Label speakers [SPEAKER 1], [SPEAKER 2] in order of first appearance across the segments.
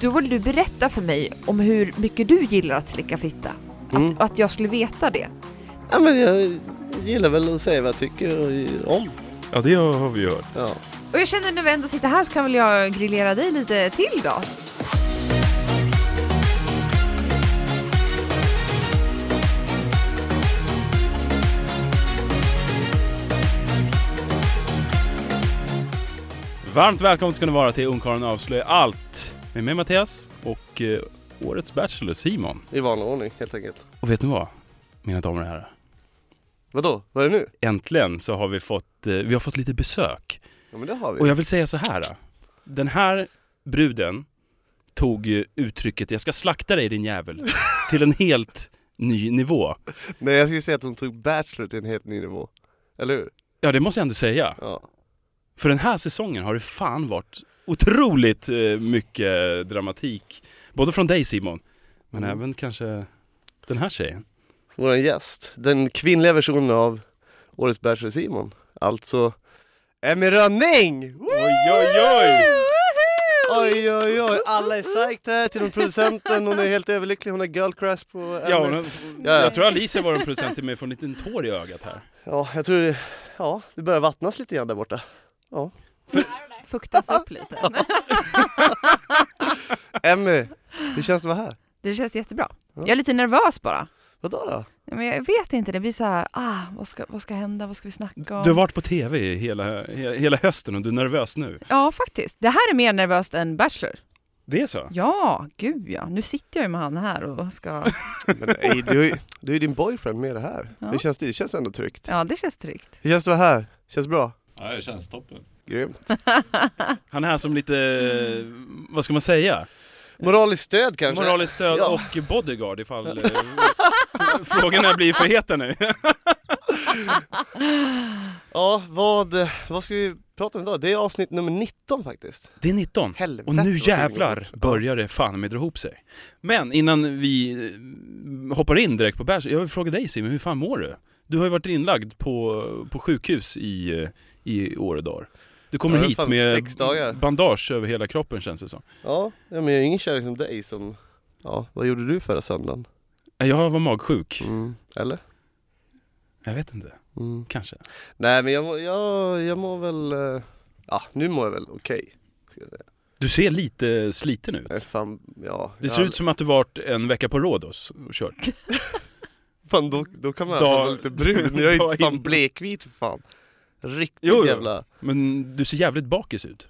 [SPEAKER 1] Då ville du berätta för mig om hur mycket du gillar att slicka fitta.
[SPEAKER 2] Mm.
[SPEAKER 1] Att, att jag skulle veta det.
[SPEAKER 2] Ja, men jag gillar väl att säga vad jag tycker om.
[SPEAKER 3] Ja, det har vi ju hört.
[SPEAKER 2] Ja.
[SPEAKER 1] Och jag känner när vi ändå sitter här så kan väl jag grillera dig lite till då.
[SPEAKER 3] Varmt välkommen ska ni vara till Ungkarlen avslöjar allt. Med mig Mattias och eh, årets Bachelor Simon.
[SPEAKER 2] I vanlig ordning helt enkelt.
[SPEAKER 3] Och vet ni vad? Mina damer och herrar.
[SPEAKER 2] Vadå, vad är det nu?
[SPEAKER 3] Äntligen så har vi fått, eh, vi har fått lite besök.
[SPEAKER 2] Ja men det har vi.
[SPEAKER 3] Och jag vill säga så här. eh. Den här bruden tog ju uttrycket 'Jag ska slakta dig din jävel' till en helt ny nivå.
[SPEAKER 2] Nej jag skulle säga att hon tog Bachelor till en helt ny nivå. Eller hur?
[SPEAKER 3] Ja, det måste jag ändå säga.
[SPEAKER 2] Ja.
[SPEAKER 3] För den här säsongen har det fan varit otroligt eh, mycket dramatik. Både från dig Simon, men
[SPEAKER 2] Mm.
[SPEAKER 3] även kanske den här tjejen.
[SPEAKER 2] Våran gäst, den kvinnliga versionen av Årets Bachelor Simon. Alltså Emmy Rönning! Woo!
[SPEAKER 3] Oj, oj, oj!
[SPEAKER 2] Oj oj oj, alla är psyched här till och med producenten, hon är helt överlycklig, hon har girl crush på Emmy.
[SPEAKER 3] Ja, men,
[SPEAKER 2] Ja.
[SPEAKER 3] jag tror Alicia var en producent till mig får en liten tår i ögat här.
[SPEAKER 2] ja, jag tror det, ja, det börjar vattnas lite grann där borta.
[SPEAKER 1] Fuktas upp lite.
[SPEAKER 2] Emmy, hur känns det att vara här?
[SPEAKER 1] Det känns jättebra. Jag är lite nervös bara.
[SPEAKER 2] Vadå då?
[SPEAKER 1] Ja, Men jag vet inte, det blir så här, ah, vad ska, vad ska hända, vad ska vi snacka om?
[SPEAKER 3] Du har varit på TV hela, hela, hela hösten och du är nervös nu.
[SPEAKER 1] Ja, faktiskt. Det här är mer nervöst än Bachelor.
[SPEAKER 3] Det är så?
[SPEAKER 1] Ja, gud ja. Nu sitter jag ju med han här och ska...
[SPEAKER 2] Men nej, du, har ju- du är ju din boyfriend med det här.
[SPEAKER 1] Ja.
[SPEAKER 2] Hur känns det? Det känns ändå tryggt.
[SPEAKER 1] Ja, det känns tryggt.
[SPEAKER 2] Hur känns det att vara här? Känns bra?
[SPEAKER 4] Ja, det känns toppen.
[SPEAKER 2] Grymt.
[SPEAKER 3] Han är här som lite, eh, vad ska man säga?
[SPEAKER 2] Moraliskt stöd kanske?
[SPEAKER 3] Moraliskt stöd
[SPEAKER 2] Ja.
[SPEAKER 3] och bodyguard ifall eh, frågorna blir för heta nu.
[SPEAKER 2] Ja, vad, vad ska vi prata om idag? Det är avsnitt nummer 19 faktiskt.
[SPEAKER 3] Det är 19.
[SPEAKER 2] Helvete
[SPEAKER 3] Och nu
[SPEAKER 2] vad tiden
[SPEAKER 3] jävlar
[SPEAKER 2] går fort.
[SPEAKER 3] börjar det fan med dra ihop sig. Men innan vi eh, hoppar in direkt på Bärs, jag vill fråga dig Simon, hur fan mår du? Du har ju varit inlagd på, på sjukhus i, eh, i år och dagar. Du kommer
[SPEAKER 2] Ja, det är
[SPEAKER 3] hit
[SPEAKER 2] fan
[SPEAKER 3] med
[SPEAKER 2] sex dagar.
[SPEAKER 3] bandage över hela kroppen känns det som.
[SPEAKER 2] Ja, ja men jag är ingen kärlek som dig som, ja, vad gjorde du förra söndagen?
[SPEAKER 3] Nej, Jag var magsjuk.
[SPEAKER 2] Mm. Eller?
[SPEAKER 3] Jag vet inte,
[SPEAKER 2] Mm.
[SPEAKER 3] kanske.
[SPEAKER 2] Nej men jag, mår- jag, jag mår väl, eh, ja nu mår jag väl okej. ska jag säga.
[SPEAKER 3] Du ser lite sliten ut.
[SPEAKER 2] Jag är Fan, ja.
[SPEAKER 3] Det ser ut som att du varit en vecka på Rhodos och kört.
[SPEAKER 2] Fan då, då kan man
[SPEAKER 3] Dag-
[SPEAKER 2] vara lite brun, jag är ju
[SPEAKER 3] dag
[SPEAKER 2] inte fan
[SPEAKER 3] innan.
[SPEAKER 2] blekvit för fan. Riktigt
[SPEAKER 3] Jo, jo.
[SPEAKER 2] jävla
[SPEAKER 3] Men du ser jävligt bakis ut.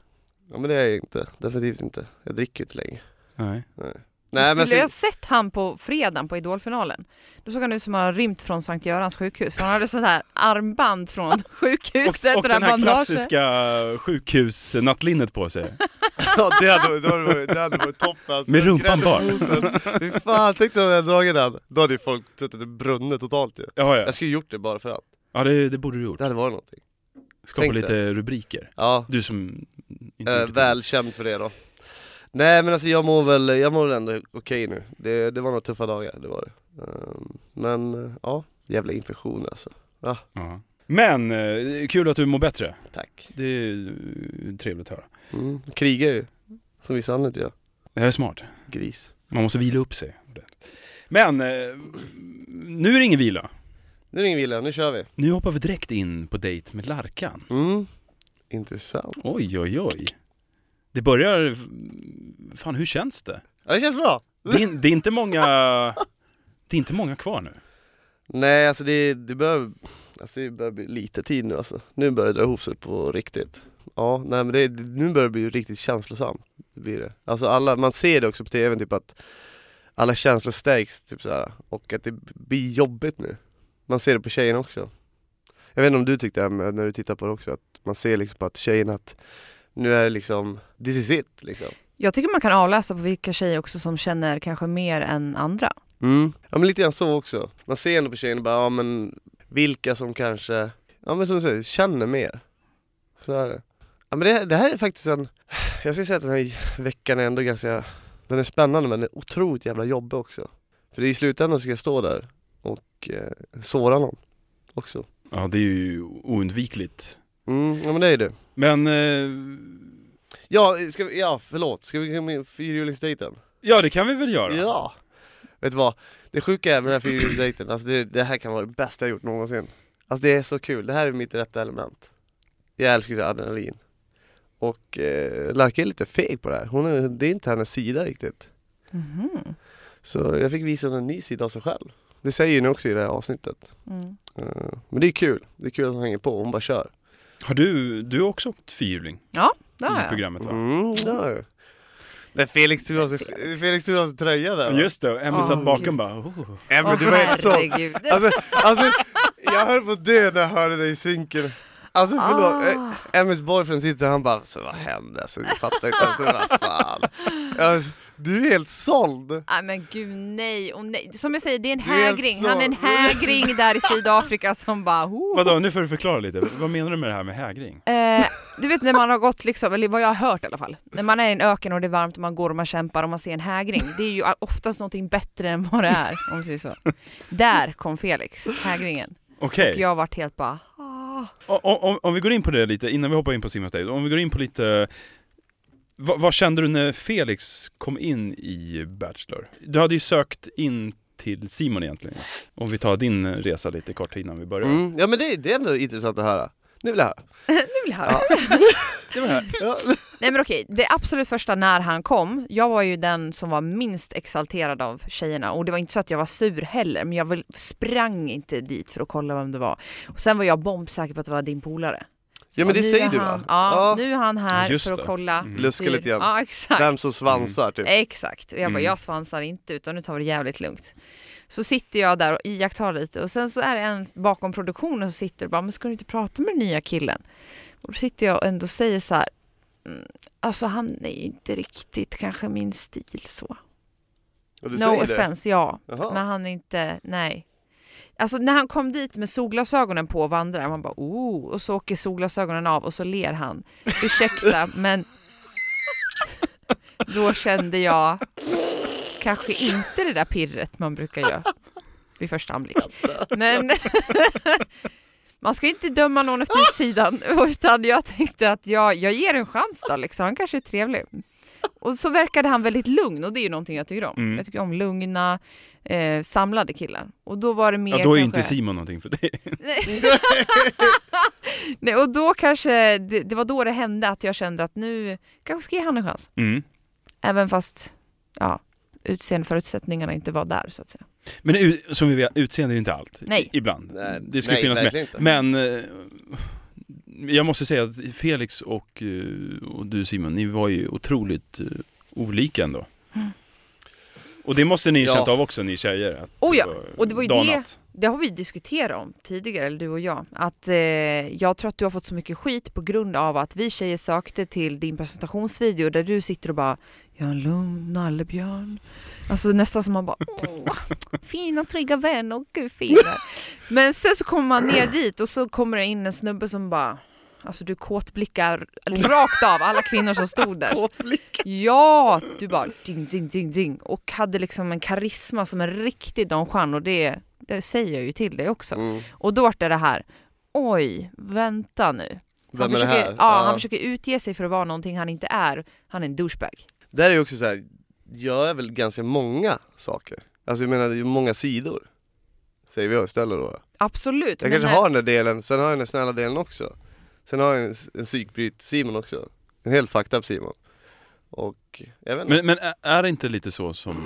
[SPEAKER 2] Ja men det är jag inte, definitivt inte. Jag dricker ju inte längre.
[SPEAKER 3] Nej.
[SPEAKER 2] Nej men
[SPEAKER 1] Skulle jag
[SPEAKER 2] så,
[SPEAKER 1] sett han på fredagen på Idolfinalen, då såg han ut som han hade rymt från Sankt Görans sjukhus. För han hade sånt här armband från sjukhuset
[SPEAKER 3] Och, och
[SPEAKER 1] det här
[SPEAKER 3] den här
[SPEAKER 1] bandaget.
[SPEAKER 3] klassiska sjukhusnattlinnet på sig.
[SPEAKER 2] ja, det, hade, det, hade varit, det hade varit toppen.
[SPEAKER 3] Med rumpan bar.
[SPEAKER 2] Fy fan, tänk dig om jag hade dragit den. Då hade ju folk trott att det brunnit totalt ju.
[SPEAKER 3] Ja, ja.
[SPEAKER 2] Jag skulle gjort det bara för att.
[SPEAKER 3] ja det, det borde du gjort.
[SPEAKER 2] Det hade varit någonting.
[SPEAKER 3] Skapa
[SPEAKER 2] Tänk
[SPEAKER 3] lite
[SPEAKER 2] det.
[SPEAKER 3] rubriker.
[SPEAKER 2] Ja,
[SPEAKER 3] Du som inte
[SPEAKER 2] eh,
[SPEAKER 3] gjort det.
[SPEAKER 2] välkänd för det då. Nej men alltså jag mår väl, jag mår väl ändå okej nu. Det, det var några tuffa dagar, det var det. Ehm, Men eh, ja, jävla infektion alltså.
[SPEAKER 3] Ja. Men eh, kul att du mår bättre.
[SPEAKER 2] Tack.
[SPEAKER 3] Det är eh, trevligt att höra.
[SPEAKER 2] Mm. Krigar ju, som vissa andra inte gör.
[SPEAKER 3] Det här är smart.
[SPEAKER 2] Gris.
[SPEAKER 3] Man måste vila upp sig. ordentligt. Men eh, nu är det ingen vila.
[SPEAKER 2] Nu är det ingen villa, nu kör vi.
[SPEAKER 3] Nu hoppar vi direkt in på dejt med Larkan.
[SPEAKER 2] Mm. Intressant.
[SPEAKER 3] Oj, oj, oj. Det börjar... Fan, hur känns det?
[SPEAKER 2] Ja, det känns bra!
[SPEAKER 3] Det är, det är inte många... Det är inte många kvar nu.
[SPEAKER 2] Nej alltså det, det, börjar, alltså det börjar bli lite tid nu alltså. Nu börjar det dra ihop sig på riktigt. Ja, nej men det, nu börjar det bli riktigt känslosamt. Det blir det. Alltså alla, man ser det också på tvn typ att alla känslor stärks typ så här. och att det blir jobbigt nu. Man ser det på tjejerna också. Jag vet inte om du tyckte det här med- när du tittar på det också, att man ser liksom på att tjejerna att nu är det liksom, this is it liksom.
[SPEAKER 1] Jag tycker man kan avläsa på vilka tjejer också som känner kanske mer än andra.
[SPEAKER 2] Mm. Ja men lite grann så också. Man ser ändå på tjejerna bara, ja men vilka som kanske, ja men som du säger, känner mer. Så är det. Ja men det, det här är faktiskt en, jag skulle säga att den här veckan är ändå ganska, den är spännande men den är otroligt jävla jobbig också. För i slutändan ska jag stå där och eh, såra någon också.
[SPEAKER 3] Ja, det är ju oundvikligt.
[SPEAKER 2] Mm, ja men det är ju det.
[SPEAKER 3] Men eh,
[SPEAKER 2] Ja, ska vi, ja förlåt, ska vi gå med fyrhjulingsdejten?
[SPEAKER 3] Ja det kan vi väl göra?
[SPEAKER 2] Ja! Vet du vad? Det sjuka är med den här fyrhjulingsdejten, alltså det, det här kan vara det bästa jag gjort någonsin Alltså det är så kul, det här är mitt rätta element Jag älskar ju adrenalin Och eh, Larka är lite feg på det här, hon är, det är inte hennes sida riktigt
[SPEAKER 1] Mhm.
[SPEAKER 2] Så jag fick visa henne en ny sida av sig själv Det säger ju ni också i det här avsnittet
[SPEAKER 1] Mm.
[SPEAKER 2] Eh, Men det är kul, det är kul att hon hänger på, hon bara kör
[SPEAKER 3] Har du, du har också åkt fyrhjuling
[SPEAKER 1] Där har
[SPEAKER 3] i
[SPEAKER 1] jag.
[SPEAKER 3] programmet va?
[SPEAKER 2] Mm, det har du När Felix tog av sig- Felix tog av sig tröja där va?
[SPEAKER 3] Just det, Emmy
[SPEAKER 1] Åh,
[SPEAKER 3] satt bakom
[SPEAKER 1] gud.
[SPEAKER 3] bara oh.
[SPEAKER 2] Nej, men
[SPEAKER 1] Åh,
[SPEAKER 2] det var helt så
[SPEAKER 1] herregud.
[SPEAKER 2] Alltså, alltså, jag höll på att dö när jag hörde dig i synken Alltså förlåt,
[SPEAKER 1] Ah.
[SPEAKER 2] eh, Emmys boyfriend sitter han bara så vad hände? Alltså, du fattar inte, alltså, vad fan alltså, Du är helt såld!
[SPEAKER 1] Nej men gud nej, och nej. Som jag säger, det är en
[SPEAKER 2] är helt
[SPEAKER 1] hägring.
[SPEAKER 2] så-
[SPEAKER 1] Han är en hägring där i Sydafrika som bara... Ho.
[SPEAKER 3] Vadå, nu får du förklara lite. Vad menar du med det här med hägring?
[SPEAKER 1] Eh, du vet när man har gått, liksom, eller vad jag har hört i alla fall, när man är i en öken och det är varmt och man går och man kämpar och man ser en hägring. Det är ju oftast någonting bättre än vad det är, om vi säger så. Där kom Felix, hägringen.
[SPEAKER 3] Okej,
[SPEAKER 1] Jag har varit helt bara...
[SPEAKER 3] o- o- om, om vi går in på det lite, innan vi hoppar in på simhasteg, om vi går in på lite vad, vad kände du när Felix kom in i Bachelor? Du hade ju sökt in till Simon egentligen. Om vi tar din resa lite kort innan vi börjar.
[SPEAKER 2] Mm, ja men det, det är ändå intressant att höra Nu vill jag höra!
[SPEAKER 1] Nu vill jag höra.
[SPEAKER 3] Det var det här.
[SPEAKER 2] Ja.
[SPEAKER 1] Nej men okej, det absolut första när han kom, jag var ju den som var minst exalterad av tjejerna och det var inte så att jag var sur heller men jag väl- sprang inte dit för att kolla vem det var. Och sen var jag bombsäker på att det var din polare.
[SPEAKER 2] Ja men
[SPEAKER 1] Och
[SPEAKER 2] det
[SPEAKER 1] nu
[SPEAKER 2] säger
[SPEAKER 1] är
[SPEAKER 2] du
[SPEAKER 1] han,
[SPEAKER 2] va?
[SPEAKER 1] Ja, nu är han här
[SPEAKER 3] Just
[SPEAKER 1] för att
[SPEAKER 3] det.
[SPEAKER 1] kolla.
[SPEAKER 3] Mm.
[SPEAKER 2] Luska lite grann,
[SPEAKER 1] Ja exakt.
[SPEAKER 2] vem som svansar typ
[SPEAKER 1] Exakt, och jag bara
[SPEAKER 3] Mm.
[SPEAKER 1] jag svansar inte utan nu tar vi det jävligt lugnt. Så sitter jag där och iakttar lite och sen så är det en bakom produktionen som sitter och bara men ska du inte prata med den nya killen? Och då sitter jag och ändå säger så här "Mm, alltså han är ju inte riktigt kanske min stil så.
[SPEAKER 2] Och du
[SPEAKER 1] No
[SPEAKER 2] säger
[SPEAKER 1] offense, ja.
[SPEAKER 2] det? Jaha.
[SPEAKER 1] Men han är inte, nej. Alltså när han kom dit med solglasögonen på och vandrar, man bara oh, och så åker solglasögonen av och så ler han. Ursäkta, men då kände jag kanske inte det där pirret man brukar göra vid första anblick. Men man ska inte döma någon efter utsidan, utan jag tänkte att jag, jag ger en chans då, liksom. han kanske är trevlig. Och så verkade han väldigt lugn och det är ju någonting jag tycker om.
[SPEAKER 3] Mm.
[SPEAKER 1] Jag tycker om lugna, eh, samlade killar. Och då var det mer
[SPEAKER 3] Ja, då är ju
[SPEAKER 1] kanske...
[SPEAKER 3] inte Simon någonting för dig.
[SPEAKER 1] Nej, och då kanske, det, det var då det hände att jag kände att nu kanske ska jag ge han en chans.
[SPEAKER 3] Mm.
[SPEAKER 1] Även fast, ja, utseendeförutsättningarna inte var där så att säga.
[SPEAKER 3] Men u- som vi vet, utseende är ju inte allt.
[SPEAKER 1] Nej.
[SPEAKER 3] Ibland.
[SPEAKER 2] Nej,
[SPEAKER 3] det ska
[SPEAKER 2] nej,
[SPEAKER 3] finnas med.
[SPEAKER 2] verkligen inte.
[SPEAKER 3] Men eh, jag måste säga att Felix och, eh, och du Simon, ni var ju otroligt eh, olika ändå.
[SPEAKER 1] Mm.
[SPEAKER 3] Och det måste ni ju
[SPEAKER 2] Ja.
[SPEAKER 3] känt av också ni tjejer. Att
[SPEAKER 1] Oh ja,
[SPEAKER 3] var
[SPEAKER 1] och det var ju
[SPEAKER 3] danat.
[SPEAKER 1] Det har vi diskuterat om tidigare, eller du och jag. Att eh, jag tror att du har fått så mycket skit på grund av att vi tjejer sökte till din presentationsvideo där du sitter och bara Jag är en lugn nallebjörn. Alltså nästan som man bara Åh, fina trygga vänner, gud fina. Men sen så kommer man ner dit och så kommer det in en snubbe som bara Alltså du kåtblickar rakt av alla kvinnor som stod där. Ja, du bara ding, ding, ding, ding. Och hade liksom en karisma som en riktig Don Juan och det, det säger jag ju till dig också.
[SPEAKER 2] Mm.
[SPEAKER 1] Och då vart det det här, oj, vänta nu. Han,
[SPEAKER 2] Vem är det
[SPEAKER 1] försöker,
[SPEAKER 2] här?
[SPEAKER 1] Ja, han försöker utge sig för att vara någonting han inte är. Han är en douchebag.
[SPEAKER 2] Där är ju också så här, jag är väl ganska många saker. Alltså jag menar det är ju många sidor. Säger vi istället då.
[SPEAKER 1] Absolut.
[SPEAKER 2] Jag
[SPEAKER 1] men eh,
[SPEAKER 2] kanske
[SPEAKER 1] när-
[SPEAKER 2] har den där delen, sen har jag den snälla delen också. Sen har jag en, en psykbryt-Simon också. En helt fucked up Simon. Och jag vet inte.
[SPEAKER 3] Men, men ä- är det inte lite så som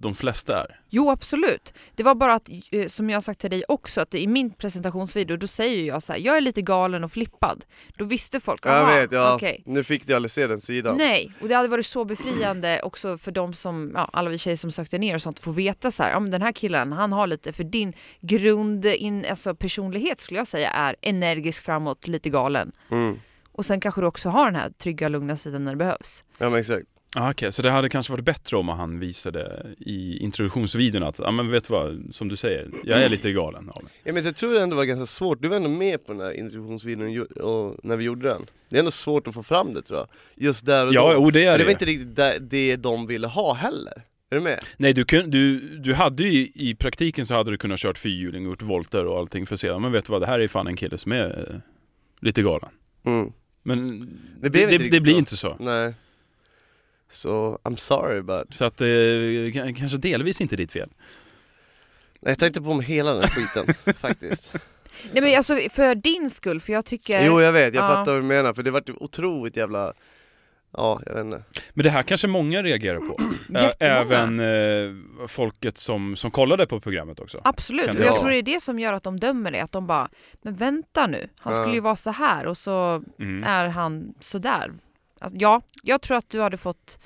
[SPEAKER 3] de flesta är?
[SPEAKER 1] Jo, absolut. Det var bara att, eh, som jag har sagt till dig också, att i min presentationsvideo då säger jag så här, jag är lite galen och flippad. Då visste folk,
[SPEAKER 2] jag
[SPEAKER 1] "Aha,
[SPEAKER 2] vet, ja.
[SPEAKER 1] okej."
[SPEAKER 2] Nu fick du aldrig se den sidan.
[SPEAKER 1] Nej, och det hade varit så befriande också för de som, ja, alla vi tjejer som sökte ner och sånt, få veta så här, ja men den här killen, han har lite, för din grund, in, alltså personlighet skulle jag säga är energisk framåt, lite galen.
[SPEAKER 2] Mm.
[SPEAKER 1] Och sen kanske du också har den här trygga, lugna sidan när det behövs.
[SPEAKER 2] Ja men exakt.
[SPEAKER 3] Ah, Okej, så det hade kanske varit bättre om han visade i introduktionsvideon att, ja men vet du vad, som du säger, jag är lite galen av mig.
[SPEAKER 2] Ja, men jag tror det ändå var ganska svårt, du var ändå med på den här introduktionsvideon ju- och när vi gjorde den. Det är ändå svårt att få fram det tror jag. Just där och
[SPEAKER 3] Ja,
[SPEAKER 2] då.
[SPEAKER 3] jo det
[SPEAKER 2] För
[SPEAKER 3] är
[SPEAKER 2] det
[SPEAKER 3] det.
[SPEAKER 2] var inte riktigt det, det de ville ha heller. Är du med?
[SPEAKER 3] Nej, du, kun, du, du hade ju i praktiken så hade du kunnat kört fyrhjuling och gjort volter och allting för sedan. Men vet du vad, det här är fan en kille som är eh, lite galen.
[SPEAKER 2] Mm.
[SPEAKER 3] Men
[SPEAKER 2] Det
[SPEAKER 3] det,
[SPEAKER 2] blev
[SPEAKER 3] det,
[SPEAKER 2] inte
[SPEAKER 3] det,
[SPEAKER 2] riktigt
[SPEAKER 3] blir
[SPEAKER 2] så.
[SPEAKER 3] inte så.
[SPEAKER 2] Nej. Så I'm sorry but...
[SPEAKER 3] Så att eh, k- kanske delvis inte ditt fel.
[SPEAKER 2] Nej, jag tar inte på mig hela den här skiten faktiskt.
[SPEAKER 1] Nej men alltså för din skull, för jag tycker...
[SPEAKER 2] Jo jag vet, jag
[SPEAKER 1] Ja.
[SPEAKER 2] fattar vad du menar för det vart ju otroligt jävla... Ja, jag vet inte.
[SPEAKER 3] Men det här kanske många reagerar på. Ä-
[SPEAKER 1] Jättemånga.
[SPEAKER 3] Även eh, folket som, som kollade på programmet också.
[SPEAKER 1] Absolut,
[SPEAKER 3] Kan
[SPEAKER 1] och
[SPEAKER 3] det
[SPEAKER 1] jag
[SPEAKER 2] vara.
[SPEAKER 1] tror det är det som gör att de dömer det, att de bara “men vänta nu, han
[SPEAKER 2] Ja.
[SPEAKER 1] skulle ju vara så här och så
[SPEAKER 3] Mm.
[SPEAKER 1] är han sådär”. Alltså, ja, jag tror att du hade fått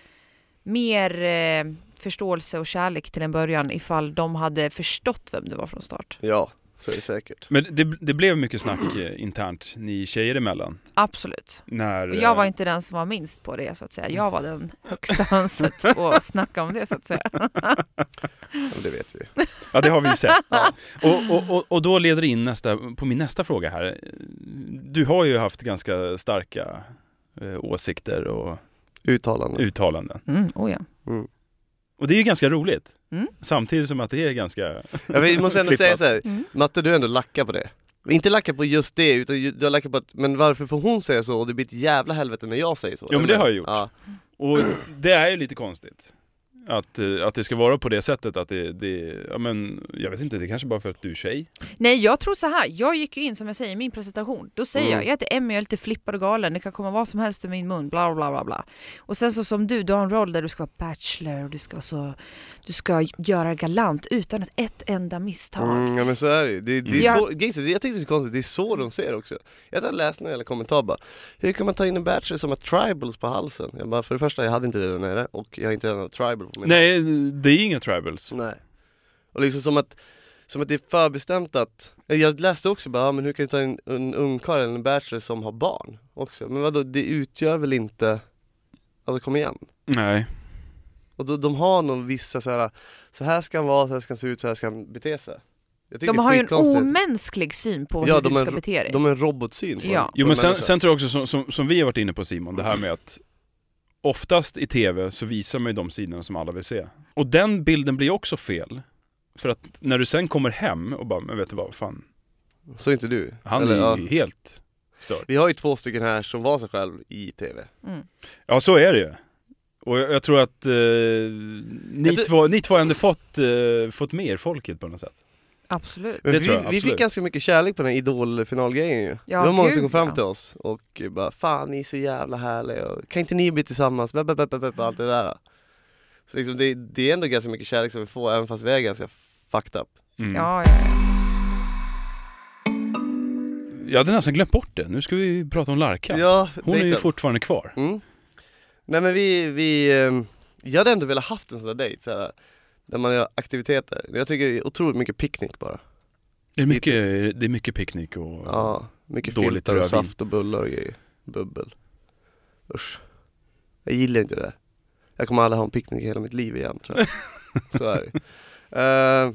[SPEAKER 1] mer eh, förståelse och kärlek till en början ifall de hade förstått vem du var från start.
[SPEAKER 2] Ja, så är det säkert.
[SPEAKER 3] Men det, det blev mycket snack eh, internt ni tjejer emellan.
[SPEAKER 1] Absolut.
[SPEAKER 3] När,
[SPEAKER 1] Och jag var
[SPEAKER 3] eh,
[SPEAKER 1] inte den som var minst på det så att säga. Jag var den högsta hönset på att snacka om det så att säga.
[SPEAKER 2] Ja, men det vet vi.
[SPEAKER 3] Ja, det har vi ju sett. Och, och, och, och då leder det in nästa, på min nästa fråga här. Du har ju haft ganska starka eh, åsikter och
[SPEAKER 2] Uttalanden.
[SPEAKER 3] uttalanden.
[SPEAKER 1] Mm, oh ja.
[SPEAKER 2] Mm.
[SPEAKER 3] Och det är ju ganska roligt.
[SPEAKER 1] Mm.
[SPEAKER 3] Samtidigt som att det är ganska...
[SPEAKER 2] Jag vet, jag måste ändå säga
[SPEAKER 3] Flippat.
[SPEAKER 2] så här.
[SPEAKER 1] Mm.
[SPEAKER 2] Matte du har ändå lackat på det. Men Inte lackat på just det, utan ju- du har lackat på att, men varför får hon säga så och det blir ett jävla helvete när jag säger så?
[SPEAKER 3] Jo, men det har jag gjort.
[SPEAKER 2] Ja.
[SPEAKER 3] Och det är ju lite konstigt. Att, eh, att det ska vara på det sättet att det, det, ja men jag vet inte, det kanske bara för att du är tjej.
[SPEAKER 1] Nej jag tror så här, jag gick ju in som jag säger i min presentation, då säger
[SPEAKER 2] Mm.
[SPEAKER 1] jag jag heter Emmy, jag är lite flippad och galen, det kan komma vad som helst ur min mun, bla bla bla bla. Och sen så som du, du har en roll där du ska vara bachelor, och du ska, så, du ska göra galant utan ett, ett enda misstag.
[SPEAKER 2] Mm, ja men så är det ju. Det, det är
[SPEAKER 1] Mm.
[SPEAKER 2] så, grejen är, jag tycker det är så konstigt, det är så de ser också. Jag har läst några jävla kommentar bara, hur kan man ta in en bachelor som har tribals på halsen? Jag bara, för det första jag hade inte det där nere och jag har inte några tribal på min
[SPEAKER 3] Nej, det är inga tribals.
[SPEAKER 2] Nej. Och liksom som att, som att det är förbestämt att, jag läste också bara, ja, men hur kan du ta en, en ungkarl eller en bachelor som har barn också? Men vadå, det utgör väl inte, alltså kom igen.
[SPEAKER 3] Nej.
[SPEAKER 2] Och då, de har nog vissa så här, så här ska han vara, så här ska han se ut, så här ska han bete sig. Jag tycker
[SPEAKER 1] De
[SPEAKER 2] det är
[SPEAKER 1] har ju en
[SPEAKER 2] skitkonstigt.
[SPEAKER 1] omänsklig syn på
[SPEAKER 2] Ja,
[SPEAKER 1] hur
[SPEAKER 2] de
[SPEAKER 1] du
[SPEAKER 2] är
[SPEAKER 1] ska
[SPEAKER 2] ro-
[SPEAKER 1] bete dig.
[SPEAKER 2] De har en robotsyn på
[SPEAKER 1] Ja.
[SPEAKER 2] en- på
[SPEAKER 3] Jo
[SPEAKER 2] en
[SPEAKER 3] men sen,
[SPEAKER 2] människa.
[SPEAKER 3] sen tror jag också som, som, som vi har varit inne på Simon, det här med att oftast i tv så visar man ju de sidorna som alla vill se. Och den bilden blir också fel. För att när du sen kommer hem och bara, men vet du vad, fan,
[SPEAKER 2] Så är inte du?
[SPEAKER 3] han
[SPEAKER 2] Eller,
[SPEAKER 3] är
[SPEAKER 2] ja.
[SPEAKER 3] ju helt störd.
[SPEAKER 2] Vi har ju två stycken här som var sig själv i TV.
[SPEAKER 1] Mm.
[SPEAKER 3] Ja så är det ju. Och jag, jag tror att eh, ni,
[SPEAKER 2] Jag tror-
[SPEAKER 3] två, ni två har ändå fått, eh, fått med er folket på något sätt.
[SPEAKER 1] Absolut.
[SPEAKER 2] Men
[SPEAKER 3] Det
[SPEAKER 2] vi,
[SPEAKER 3] tror jag,
[SPEAKER 2] vi
[SPEAKER 3] absolut.
[SPEAKER 2] fick ganska mycket kärlek på den här idolfinalgrejen ju.
[SPEAKER 1] Ja,
[SPEAKER 2] det var många
[SPEAKER 1] gud,
[SPEAKER 2] som kom fram
[SPEAKER 1] ja.
[SPEAKER 2] till oss och bara Fan ni är så jävla härliga, och, kan inte ni bli tillsammans? Bla, bla, bla, bla, bla, bla, allt det där. Så liksom, det, det är ändå ganska mycket kärlek som vi får även fast vi är ganska fucked up.
[SPEAKER 3] Mm.
[SPEAKER 1] Ja, ja, ja.
[SPEAKER 3] Jag hade nästan glömt bort det, nu ska vi prata om Larka. Hon är ju
[SPEAKER 2] dejten.
[SPEAKER 3] fortfarande kvar.
[SPEAKER 2] Mm. Nej men vi, vi, ehm, jag hade ändå velat haft en sån där dejt så här, där man gör aktiviteter. Jag tycker det är otroligt mycket picknick bara.
[SPEAKER 3] Det är mycket,
[SPEAKER 2] Hittills.
[SPEAKER 3] det är mycket picknick och...
[SPEAKER 2] Ja, mycket
[SPEAKER 3] Dåligt
[SPEAKER 2] filtar och
[SPEAKER 3] rödvin.
[SPEAKER 2] saft och bullar och grejer. Bubbel. Usch. Jag gillar inte det där. Jag kommer aldrig ha en picknick i hela mitt liv igen tror jag. så är det. Eh,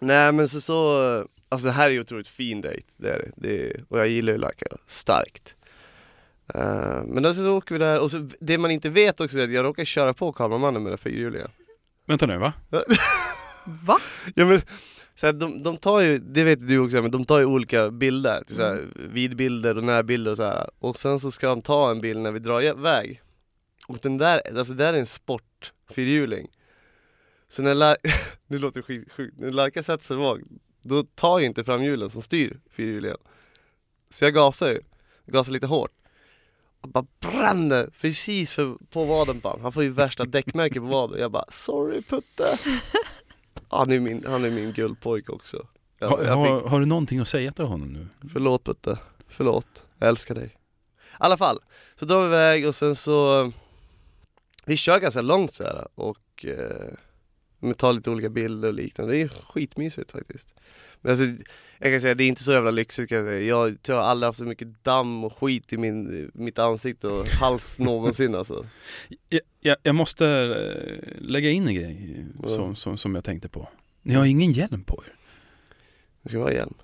[SPEAKER 2] nej men så, så, alltså det här är ju otroligt fin dejt. Det är det. det är, och jag gillar ju Laka starkt. Eh, men då så åker vi där och så, det man inte vet också är att jag råkar köra på kameramannen med den fyrhjulingen.
[SPEAKER 3] Vänta nu va?
[SPEAKER 1] Va?
[SPEAKER 2] Ja men, så här, de, de tar ju, det vet du också, men de tar ju olika bilder, typ så här, vidbilder och närbilder och så här. Och sen så ska han ta en bild när vi drar iväg. Och den där, alltså där är en sport fyrhjuling. Så när Lar- nu låter det skit- sjukt, när Larka sätter sig bak, då tar ju inte framhjulen som styr fyrhjulingen. Så jag gasar ju, gasar lite hårt. Och bara bränner precis för, på vaden på honom. Han får ju värsta däckmärke på vaden. Jag bara sorry Putte. Han är min, han är min guldpojke också.
[SPEAKER 3] har,
[SPEAKER 2] Jag, jag
[SPEAKER 3] har, har du någonting att säga till honom nu?
[SPEAKER 2] fick, förlåt Putte, förlåt. Jag älskar dig. I alla fall, så drar vi iväg och sen så Vi kör ganska långt så här och eh, men tar lite olika bilder och liknande. Det är skitmysigt faktiskt. Men alltså, jag kan säga det är inte så jävla lyxigt kan jag säga. Jag tror jag aldrig haft så mycket damm och skit i min, mitt ansikte och hals någonsin alltså.
[SPEAKER 3] Jag, jag, jag måste eh, lägga in en grej eh, som, som, som jag tänkte på. Ni har ingen hjälm på er.
[SPEAKER 2] Det ska vara igen.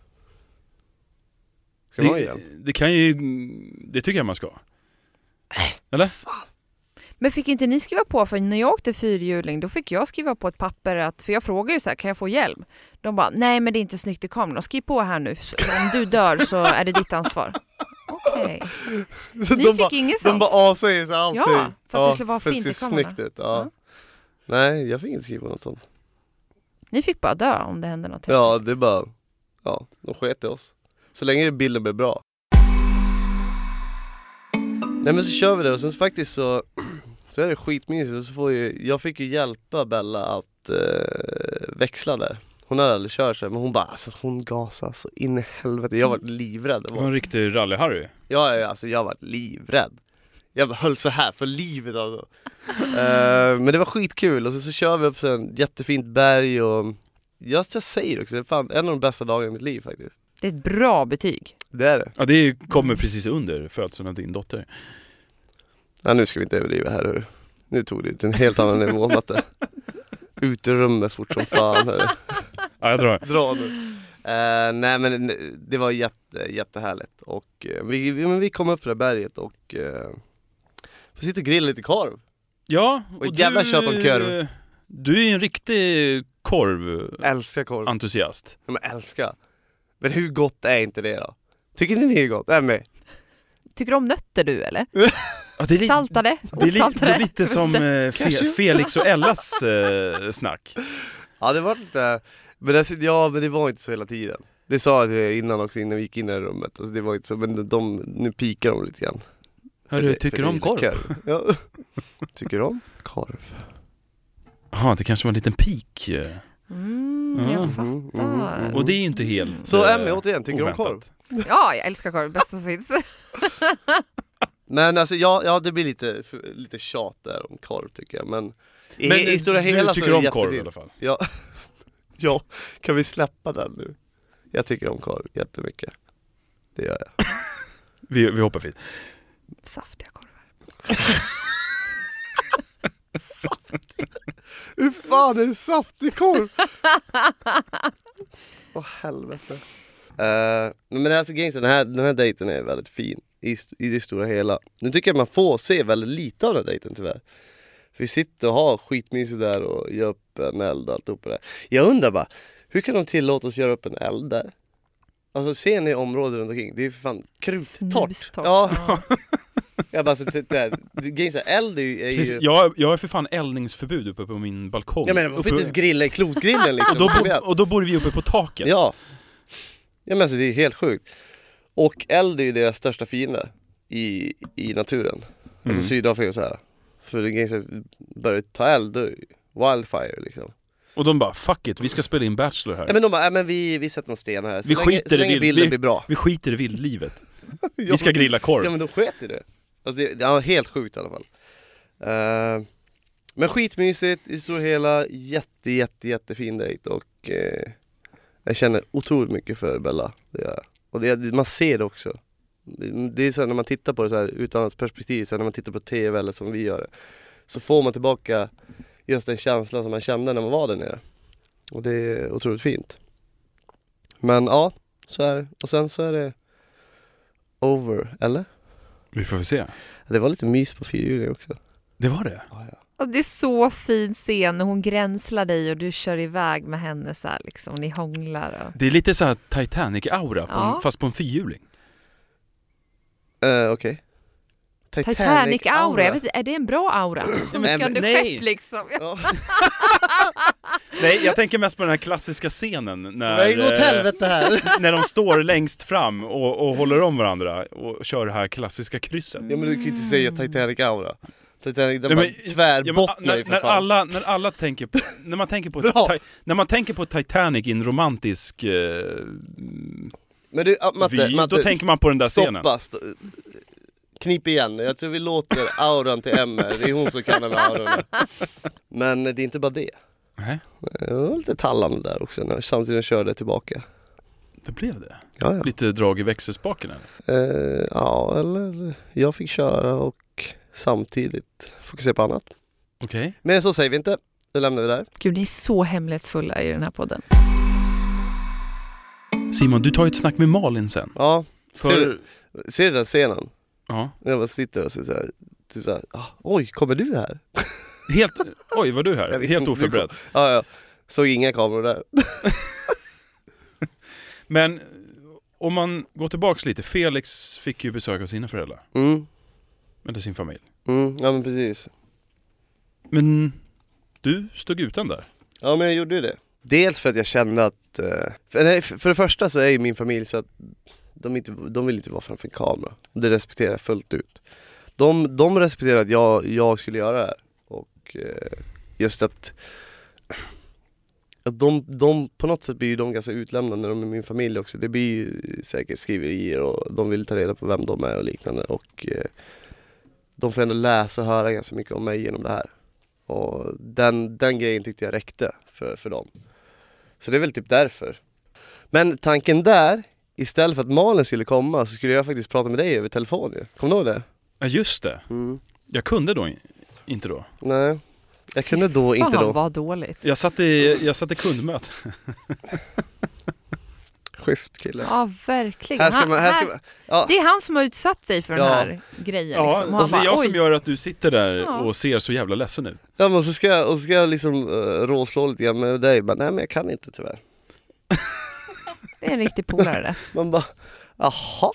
[SPEAKER 2] Ska det vara
[SPEAKER 3] Det,
[SPEAKER 2] igen?
[SPEAKER 3] det kan ju, det tycker jag man ska. Eller?
[SPEAKER 1] Men fick inte ni skriva på? För när jag åkte fyrhjuling då fick jag skriva på ett papper att, för jag frågade ju så här, kan jag få hjälm? De bara, nej men det är inte snyggt i kameran, skriv på här nu, så om du dör så är det ditt ansvar. Okej. Nej.
[SPEAKER 2] Så
[SPEAKER 1] Ni
[SPEAKER 2] de
[SPEAKER 1] fick
[SPEAKER 2] bara,
[SPEAKER 1] inget
[SPEAKER 2] de
[SPEAKER 1] sånt?
[SPEAKER 2] bara avsäger sig allting.
[SPEAKER 1] Ja, för att det skulle vara
[SPEAKER 2] för
[SPEAKER 1] fint
[SPEAKER 2] det
[SPEAKER 1] i
[SPEAKER 2] ser
[SPEAKER 1] kamerorna.
[SPEAKER 2] snyggt ut. Ja.
[SPEAKER 1] Ja.
[SPEAKER 2] Nej, jag fick inte skriva något sånt.
[SPEAKER 1] Ni fick bara dö om det hände något. helt
[SPEAKER 2] Ja, det är bara, ja, de sket i oss. Så länge bilden blev bra. Nej men så kör vi det och sen faktiskt så, så är det skitmysigt och så får ju, jag fick ju hjälpa Bella att eh, växla där. Hon hade aldrig kört så men hon bara alltså hon gasade så in i helvete. Jag var livrädd.
[SPEAKER 3] Det var en riktig rally-Harry.
[SPEAKER 2] Ja, ja, alltså jag var livrädd. Jag höll så här för livet alltså. Eh, men det var skitkul och så, så kör vi upp så en jättefint berg och jag, jag säger också, det är fan en av de bästa dagarna i mitt liv faktiskt.
[SPEAKER 1] Det är ett bra betyg.
[SPEAKER 2] Det är det.
[SPEAKER 3] Ja det kommer precis under födseln av din dotter.
[SPEAKER 2] Ja, nu ska vi inte överdriva här hörru. Nu tog det till en helt annan nivå Matte. Uterumme fort som fan hörru.
[SPEAKER 3] Ja jag drar.
[SPEAKER 2] Dra nu. Eh, nej men det var jätte, jättehärligt och eh, vi, vi, men vi kom upp för det här berget och eh, vi sitter och grillar lite korv.
[SPEAKER 3] Ja,
[SPEAKER 2] Och ett jävla
[SPEAKER 3] du-
[SPEAKER 2] tjat om korv.
[SPEAKER 3] Du är ju en riktig korventusiast.
[SPEAKER 2] Älskar korv. Ja, men älska. Men hur gott är inte det då? Tycker inte ni det är gott? Nej men,
[SPEAKER 1] Tycker du om nötter du eller?
[SPEAKER 3] Ja, det är li-
[SPEAKER 1] Saltade?
[SPEAKER 3] det är, li- det
[SPEAKER 1] Osaltade?
[SPEAKER 3] är lite som eh, Fe-
[SPEAKER 2] Cashew.
[SPEAKER 3] Felix och Ellas eh, snack.
[SPEAKER 2] ja det var lite, men, alltså, ja, men det var inte så hela tiden. Det sa jag till er innan också innan vi gick in i det här rummet, alltså, det var inte så, men de, de, nu pikar de lite grann. För
[SPEAKER 3] Hörru,
[SPEAKER 2] det-
[SPEAKER 3] tycker
[SPEAKER 2] för
[SPEAKER 3] du om
[SPEAKER 2] det
[SPEAKER 3] korv?
[SPEAKER 2] gillar Ja. Tycker du om korv?
[SPEAKER 3] Ja, det kanske var en liten peak. eh.
[SPEAKER 1] Mm, jag
[SPEAKER 3] Mm,
[SPEAKER 1] fattar.
[SPEAKER 2] mm.
[SPEAKER 3] Och det är ju inte helt
[SPEAKER 2] Så
[SPEAKER 3] eh,
[SPEAKER 2] Emmy återigen, tycker du om
[SPEAKER 3] oväntat.
[SPEAKER 2] korv?
[SPEAKER 1] Ja, jag älskar korv. Bästa som finns.
[SPEAKER 2] Men alltså ja, ja det blir lite, lite tjat där om korv tycker jag men i,
[SPEAKER 3] Men eh,
[SPEAKER 2] i stora hela
[SPEAKER 3] du
[SPEAKER 2] så är
[SPEAKER 3] tycker
[SPEAKER 2] det
[SPEAKER 3] om
[SPEAKER 2] jättefint.
[SPEAKER 3] korv i alla fall?
[SPEAKER 2] Ja. ja, kan vi släppa den nu? Jag tycker om korv jättemycket. Det gör jag.
[SPEAKER 3] Vi, vi hoppar fint.
[SPEAKER 1] Saftiga korvar.
[SPEAKER 2] Hur fan är en saftig korv? Åh helvete. Eh, men det här, så gängsen, den, här, den här dejten är väldigt fin i, st- i det stora hela. Nu tycker jag man får se väldigt lite av den här dejten tyvärr. För vi sitter och har skitmysigt där och gör upp en eld och alltihopa där. Jag undrar bara, hur kan de tillåta oss göra upp en eld där? Alltså ser ni området runt omkring? Det är ju för fan kruttorrt.
[SPEAKER 1] Snustort.
[SPEAKER 2] Ja, jag bara så titta. Gängsen, eld är ju... Är
[SPEAKER 3] Precis,
[SPEAKER 2] ju
[SPEAKER 3] jag, jag är för fan eldningsförbud uppe på min balkong.
[SPEAKER 2] Ja men man får
[SPEAKER 3] Uppe-
[SPEAKER 2] inte ens grilla i klotgrillen liksom.
[SPEAKER 3] och, då
[SPEAKER 2] Kom igen.
[SPEAKER 3] bo, och då bor vi uppe på taket.
[SPEAKER 2] Ja. ja men alltså det är helt sjukt. Och eld är ju deras största fiende i, i naturen.
[SPEAKER 3] Mm.
[SPEAKER 2] Alltså Sydafrika och så här. För det grejen är att börjar ta eld, då är det ju wildfire liksom.
[SPEAKER 3] Och de bara 'fuck it, vi ska spela in Bachelor här'
[SPEAKER 2] Ja, men de bara, ja, men vi, vi sätter en sten här. Så
[SPEAKER 3] Vi
[SPEAKER 2] länge,
[SPEAKER 3] skiter
[SPEAKER 2] så
[SPEAKER 3] i
[SPEAKER 2] länge
[SPEAKER 3] vild-
[SPEAKER 2] bilden
[SPEAKER 3] vi-
[SPEAKER 2] blir bra.
[SPEAKER 3] Vi skiter i vildlivet,
[SPEAKER 2] Ja,
[SPEAKER 3] vi ska grilla korv
[SPEAKER 2] Ja men de sket i det. Alltså det, det var helt sjukt i alla fall. Eh, men skitmysigt i stora hela, jätte jätte jättefin dejt och eh, jag känner otroligt mycket för Bella. Det gör jag. Och det, man ser det också. Det- Det är så här, när man tittar på det så här utan ett perspektiv, så här, när man tittar på TV eller som vi gör det, så får man tillbaka just den känslan som man kände när man var där nere. Och det är otroligt fint. Men ja, så är det. Och sen så är det over, eller?
[SPEAKER 3] Vi får väl se
[SPEAKER 2] Det var lite mys på fyrhjuling också.
[SPEAKER 3] Det var det?
[SPEAKER 1] Och det är så fin scen när hon gränslar dig och du kör iväg med henne så här liksom. Ni hånglar och...
[SPEAKER 3] Det är lite så här Titanic-aura, på en-
[SPEAKER 1] Ja.
[SPEAKER 3] fast på en fyrhjuling
[SPEAKER 2] Eh, Okej.
[SPEAKER 1] Titanic-aura, jag vet inte, är det en bra aura?
[SPEAKER 3] men-
[SPEAKER 1] Sjukande
[SPEAKER 3] nej.
[SPEAKER 1] skepp liksom. Ja.
[SPEAKER 2] Ja.
[SPEAKER 3] Nej, jag tänker mest på den här klassiska scenen när,
[SPEAKER 2] Nej, åt
[SPEAKER 3] eh,
[SPEAKER 2] helvete här!
[SPEAKER 3] när de står längst fram och, och håller om varandra och kör det här klassiska krysset
[SPEAKER 2] ja men du kan ju inte säga Titanic-aura. Titanic, den
[SPEAKER 3] Ja,
[SPEAKER 2] bara
[SPEAKER 3] men- Ja, men,
[SPEAKER 2] tvärbottnar ju
[SPEAKER 3] när,
[SPEAKER 2] för
[SPEAKER 3] när,
[SPEAKER 2] fan.
[SPEAKER 3] alla, när alla tänker på, när man tänker på,
[SPEAKER 2] Bra.
[SPEAKER 3] ti, när man tänker på Titanic i en romantisk eh,
[SPEAKER 2] Men du, ah, Matte,
[SPEAKER 3] vy,
[SPEAKER 2] Matte
[SPEAKER 3] då tänker man på den där scenen
[SPEAKER 2] stoppa! St- knip igen, jag tror vi låter auran till Emma, det är hon som kan den här auran. Men det är inte bara det.
[SPEAKER 3] Nej,
[SPEAKER 2] Det var lite tallande där också, när, samtidigt som jag körde tillbaka.
[SPEAKER 3] det blev det.
[SPEAKER 2] Ja, ja.
[SPEAKER 3] Lite drag i växelspaken eller?
[SPEAKER 2] Eh, ja, eller jag fick köra och samtidigt fokusera på annat.
[SPEAKER 3] Okej.
[SPEAKER 2] Men så säger vi inte. Nu lämnar vi där.
[SPEAKER 1] Gud, ni är så hemlighetsfulla i den här podden.
[SPEAKER 3] Simon, du tar ju ett snack med Malin sen.
[SPEAKER 2] Ja,
[SPEAKER 3] För...
[SPEAKER 2] Ser du- ser du den där scenen?
[SPEAKER 3] Ja.
[SPEAKER 2] När jag bara sitter och så så här, typ så här, ah, oj, kommer du här?
[SPEAKER 3] Helt... Oj, var du
[SPEAKER 2] Jag
[SPEAKER 3] här?
[SPEAKER 2] visste inte
[SPEAKER 3] Helt
[SPEAKER 2] du kom.
[SPEAKER 3] oförberedd.
[SPEAKER 2] Ja, ja. Såg inga kameror där.
[SPEAKER 3] Men om man går tillbaks lite, Felix fick ju besök av sina föräldrar,
[SPEAKER 2] Mm,
[SPEAKER 3] eller sin familj.
[SPEAKER 2] mm, ja men precis.
[SPEAKER 3] Men du stod utan där.
[SPEAKER 2] Ja men jag gjorde ju det. Dels för att jag kände att, eh, för, nej, för för det första så är ju min familj så att de, inte, de vill inte vara framför en kamera. Det respekterar jag fullt ut. De, de respekterar att jag, jag skulle göra det här. Och eh, just att, att de, de, på något sätt blir ju de ganska utlämnade när de är min familj också. Det blir ju säkert skriverier och de vill ta reda på vem de är och liknande. Och eh, de får ändå läsa och höra ganska mycket om mig genom det här. Och den, den grejen tyckte jag räckte för, för dem. Så det är väl typ därför. Men tanken där, istället för att Malin skulle komma så skulle jag faktiskt prata med dig över telefon ju. Kommer du ihåg det?
[SPEAKER 3] Ja just det, jag kunde då in- inte då.
[SPEAKER 2] Nej, jag kunde då
[SPEAKER 1] Fan
[SPEAKER 2] inte då.
[SPEAKER 1] vad dåligt.
[SPEAKER 3] Jag satt i, jag satt i kundmöte.
[SPEAKER 2] Schysst kille.
[SPEAKER 1] Ja, verkligen.
[SPEAKER 2] Här ska
[SPEAKER 1] Han-
[SPEAKER 2] man, här ska
[SPEAKER 1] här-
[SPEAKER 2] man, ja.
[SPEAKER 1] Det är han som har utsatt dig för den
[SPEAKER 2] Ja.
[SPEAKER 1] här grejen.
[SPEAKER 3] Ja,
[SPEAKER 1] liksom. Och han
[SPEAKER 3] och det är
[SPEAKER 1] bara,
[SPEAKER 3] jag som
[SPEAKER 1] "Oj."
[SPEAKER 3] gör att du sitter där
[SPEAKER 1] Ja.
[SPEAKER 3] och ser så jävla ledsen ut.
[SPEAKER 2] ja men så ska jag, och så ska jag liksom uh, råslå lite grann med dig. Bara, nej men jag kan inte tyvärr.
[SPEAKER 1] Det är en riktig polare det.
[SPEAKER 2] Man bara, jaha.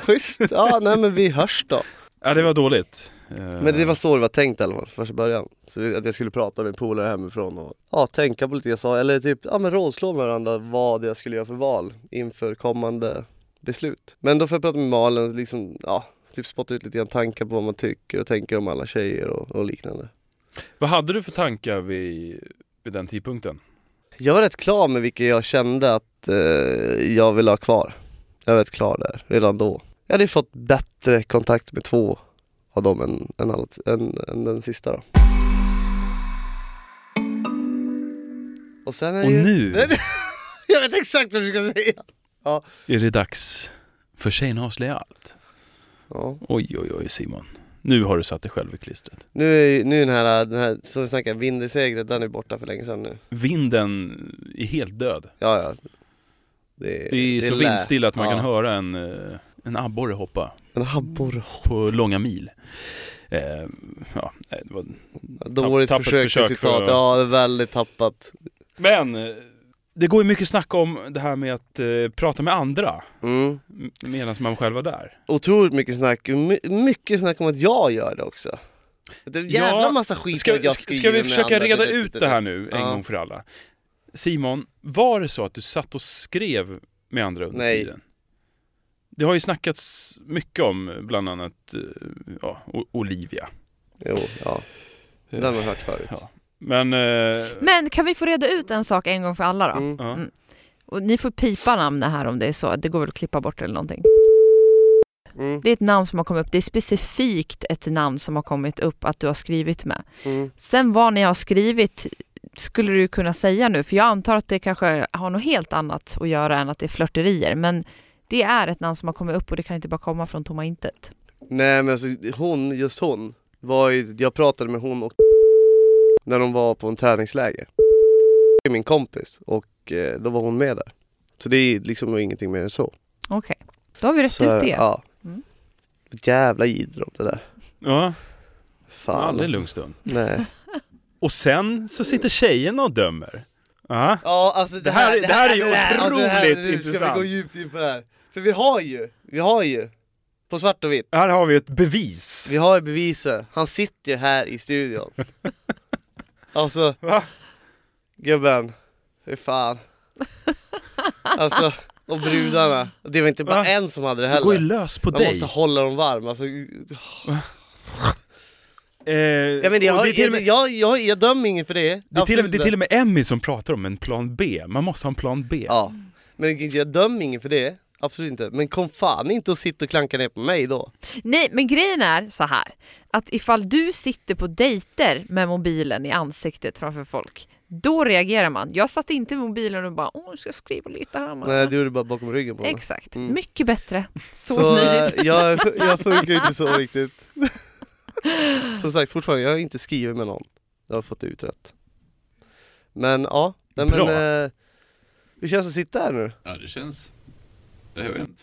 [SPEAKER 2] Schysst, ja nej men vi hörs då.
[SPEAKER 3] Ja det var dåligt. Eh,
[SPEAKER 2] Men det var så det var tänkt i alla fall från första början. Så att jag skulle prata med polare hemifrån och ja, tänka på lite jag sa, eller typ ja, men rådslå med varandra vad jag skulle göra för val inför kommande beslut. Men då får jag prata med Malin och liksom, ja, typ spotta ut lite grann tankar på vad man tycker och tänker om alla tjejer och, och liknande.
[SPEAKER 3] Vad hade du för tankar vid, vid den tidpunkten?
[SPEAKER 2] Jag var rätt klar med vilka jag kände att eh, jag ville ha kvar. Jag var rätt klar där, redan då. Jag hade ju fått bättre kontakt med två av dem än, än, allt, än, än den sista då. Och sen är det
[SPEAKER 3] Och
[SPEAKER 2] ju...
[SPEAKER 3] nu
[SPEAKER 2] Jag vet exakt vad du ska säga!
[SPEAKER 3] är det dags för tjejen avslöjar allt.
[SPEAKER 2] Ja.
[SPEAKER 3] Oj oj oj Simon. Nu har du satt dig själv i klistret.
[SPEAKER 2] Nu är ju- nu är den här, den här som vi snackade, vindersegret, den är borta för länge sedan nu.
[SPEAKER 3] Vinden är helt död.
[SPEAKER 2] Ja, ja. Det,
[SPEAKER 3] Det är så
[SPEAKER 2] lä.
[SPEAKER 3] vindstilla att man
[SPEAKER 2] Ja.
[SPEAKER 3] kan höra en, eh, en abborre hoppa
[SPEAKER 2] En abborre.
[SPEAKER 3] på långa mil. Eh, ja, nej, det var...
[SPEAKER 2] Dåligt
[SPEAKER 3] tappert
[SPEAKER 2] försök till
[SPEAKER 3] försök
[SPEAKER 2] citat.
[SPEAKER 3] för-
[SPEAKER 2] Ja, det är väldigt tappat.
[SPEAKER 3] Men eh, det går ju mycket snack om det här med att eh, prata med andra
[SPEAKER 2] Mm.
[SPEAKER 3] m- medan man själv var där.
[SPEAKER 2] otroligt mycket snack, my, mycket snack om att jag gör det också. Det är en jävla
[SPEAKER 3] Ja,
[SPEAKER 2] massa skit
[SPEAKER 3] Ska,
[SPEAKER 2] att jag
[SPEAKER 3] ska,
[SPEAKER 2] skriver
[SPEAKER 3] ska vi
[SPEAKER 2] med
[SPEAKER 3] försöka
[SPEAKER 2] andra.
[SPEAKER 3] reda ut det här nu en
[SPEAKER 2] Ja.
[SPEAKER 3] gång för alla? Simon, var det så att du satt och skrev med andra under
[SPEAKER 2] Nej.
[SPEAKER 3] tiden? Det har ju snackats mycket om bland annat eh, ja, O- Olivia.
[SPEAKER 2] Jo, ja. Det har man hört förut.
[SPEAKER 3] Ja. Men... eh,
[SPEAKER 1] Men kan vi få reda ut en sak en gång för alla då?
[SPEAKER 2] Mm.
[SPEAKER 3] ja.
[SPEAKER 1] Mm. Och ni får pipa namnet här om det är så. Det går väl att klippa bort eller någonting.
[SPEAKER 2] Mm.
[SPEAKER 1] Det är ett namn som har kommit upp. Det är specifikt ett namn som har kommit upp att du har skrivit med.
[SPEAKER 2] Mm.
[SPEAKER 1] Sen vad ni har skrivit skulle du kunna säga nu, för jag antar att det kanske har något helt annat att göra än att det är flörterier, men det är ett namn som har kommit upp och det kan inte bara komma från tomma intet.
[SPEAKER 2] Nej men alltså, hon, just hon, var ju, jag pratade med hon och när de var på en träningsläger. Det är min kompis och eh, då var hon med där. Så det är liksom ingenting mer än så.
[SPEAKER 1] Okej, då har vi rätt
[SPEAKER 2] så
[SPEAKER 1] ut det.
[SPEAKER 2] Ja.
[SPEAKER 1] Mm.
[SPEAKER 2] Jävla jidder om det där.
[SPEAKER 3] ja,
[SPEAKER 2] Fan
[SPEAKER 3] aldrig en
[SPEAKER 2] alltså.
[SPEAKER 3] lugn stund.
[SPEAKER 2] Nej.
[SPEAKER 3] Och sen så sitter tjejerna och dömer. Ja.
[SPEAKER 2] Ja, alltså det,
[SPEAKER 3] Det här är- det här är ju
[SPEAKER 2] det här-
[SPEAKER 3] otroligt
[SPEAKER 2] nu Ska
[SPEAKER 3] intressant.
[SPEAKER 2] vi gå djupt in på det här? För vi har ju, vi har ju, på svart och vitt,
[SPEAKER 3] Här har vi ett bevis.
[SPEAKER 2] vi har ju beviset. Han sitter ju här i studion. alltså,
[SPEAKER 3] Va?
[SPEAKER 2] gubben, hur fan. Alltså, och brudarna. Och Det var inte bara
[SPEAKER 3] Va?
[SPEAKER 2] en som hade det
[SPEAKER 3] Det går ju
[SPEAKER 2] heller.
[SPEAKER 3] lös på
[SPEAKER 2] Man
[SPEAKER 3] dig.
[SPEAKER 2] måste hålla dem varma. Alltså,
[SPEAKER 3] Eh,
[SPEAKER 2] jag, menar, jag,
[SPEAKER 3] och
[SPEAKER 2] har,
[SPEAKER 3] det är till och med-
[SPEAKER 2] jag, jag, jag, dömer ingen för det.
[SPEAKER 3] det är till och med-
[SPEAKER 2] Absolut
[SPEAKER 3] det är till och med Emmy som pratar om en plan B. Man måste ha en plan B.
[SPEAKER 2] Ja, men jag dömer ingen för det. Absolut inte. Men kom fan inte och sitta och klanka ner på mig då.
[SPEAKER 1] Nej, men grejen är så här, att ifall du sitter på dejter med mobilen i ansiktet framför folk, då reagerar man. Jag satt inte med mobilen och bara, åh, jag ska skriva lite här. man."
[SPEAKER 2] Nej det gjorde du bara bakom ryggen på mig.
[SPEAKER 1] Exakt,
[SPEAKER 2] Mm.
[SPEAKER 1] mycket bättre. Så,
[SPEAKER 2] eh,
[SPEAKER 1] smidigt.
[SPEAKER 2] jag, jag funkar inte så riktigt. Som sagt, fortfarande, jag har inte skrivit med någon. Jag har fått det utrett. Men ja, nej, men,
[SPEAKER 3] Bra.
[SPEAKER 2] eh, hur känns det att sitta här nu?
[SPEAKER 4] Ja, det känns
[SPEAKER 3] Jag vet inte.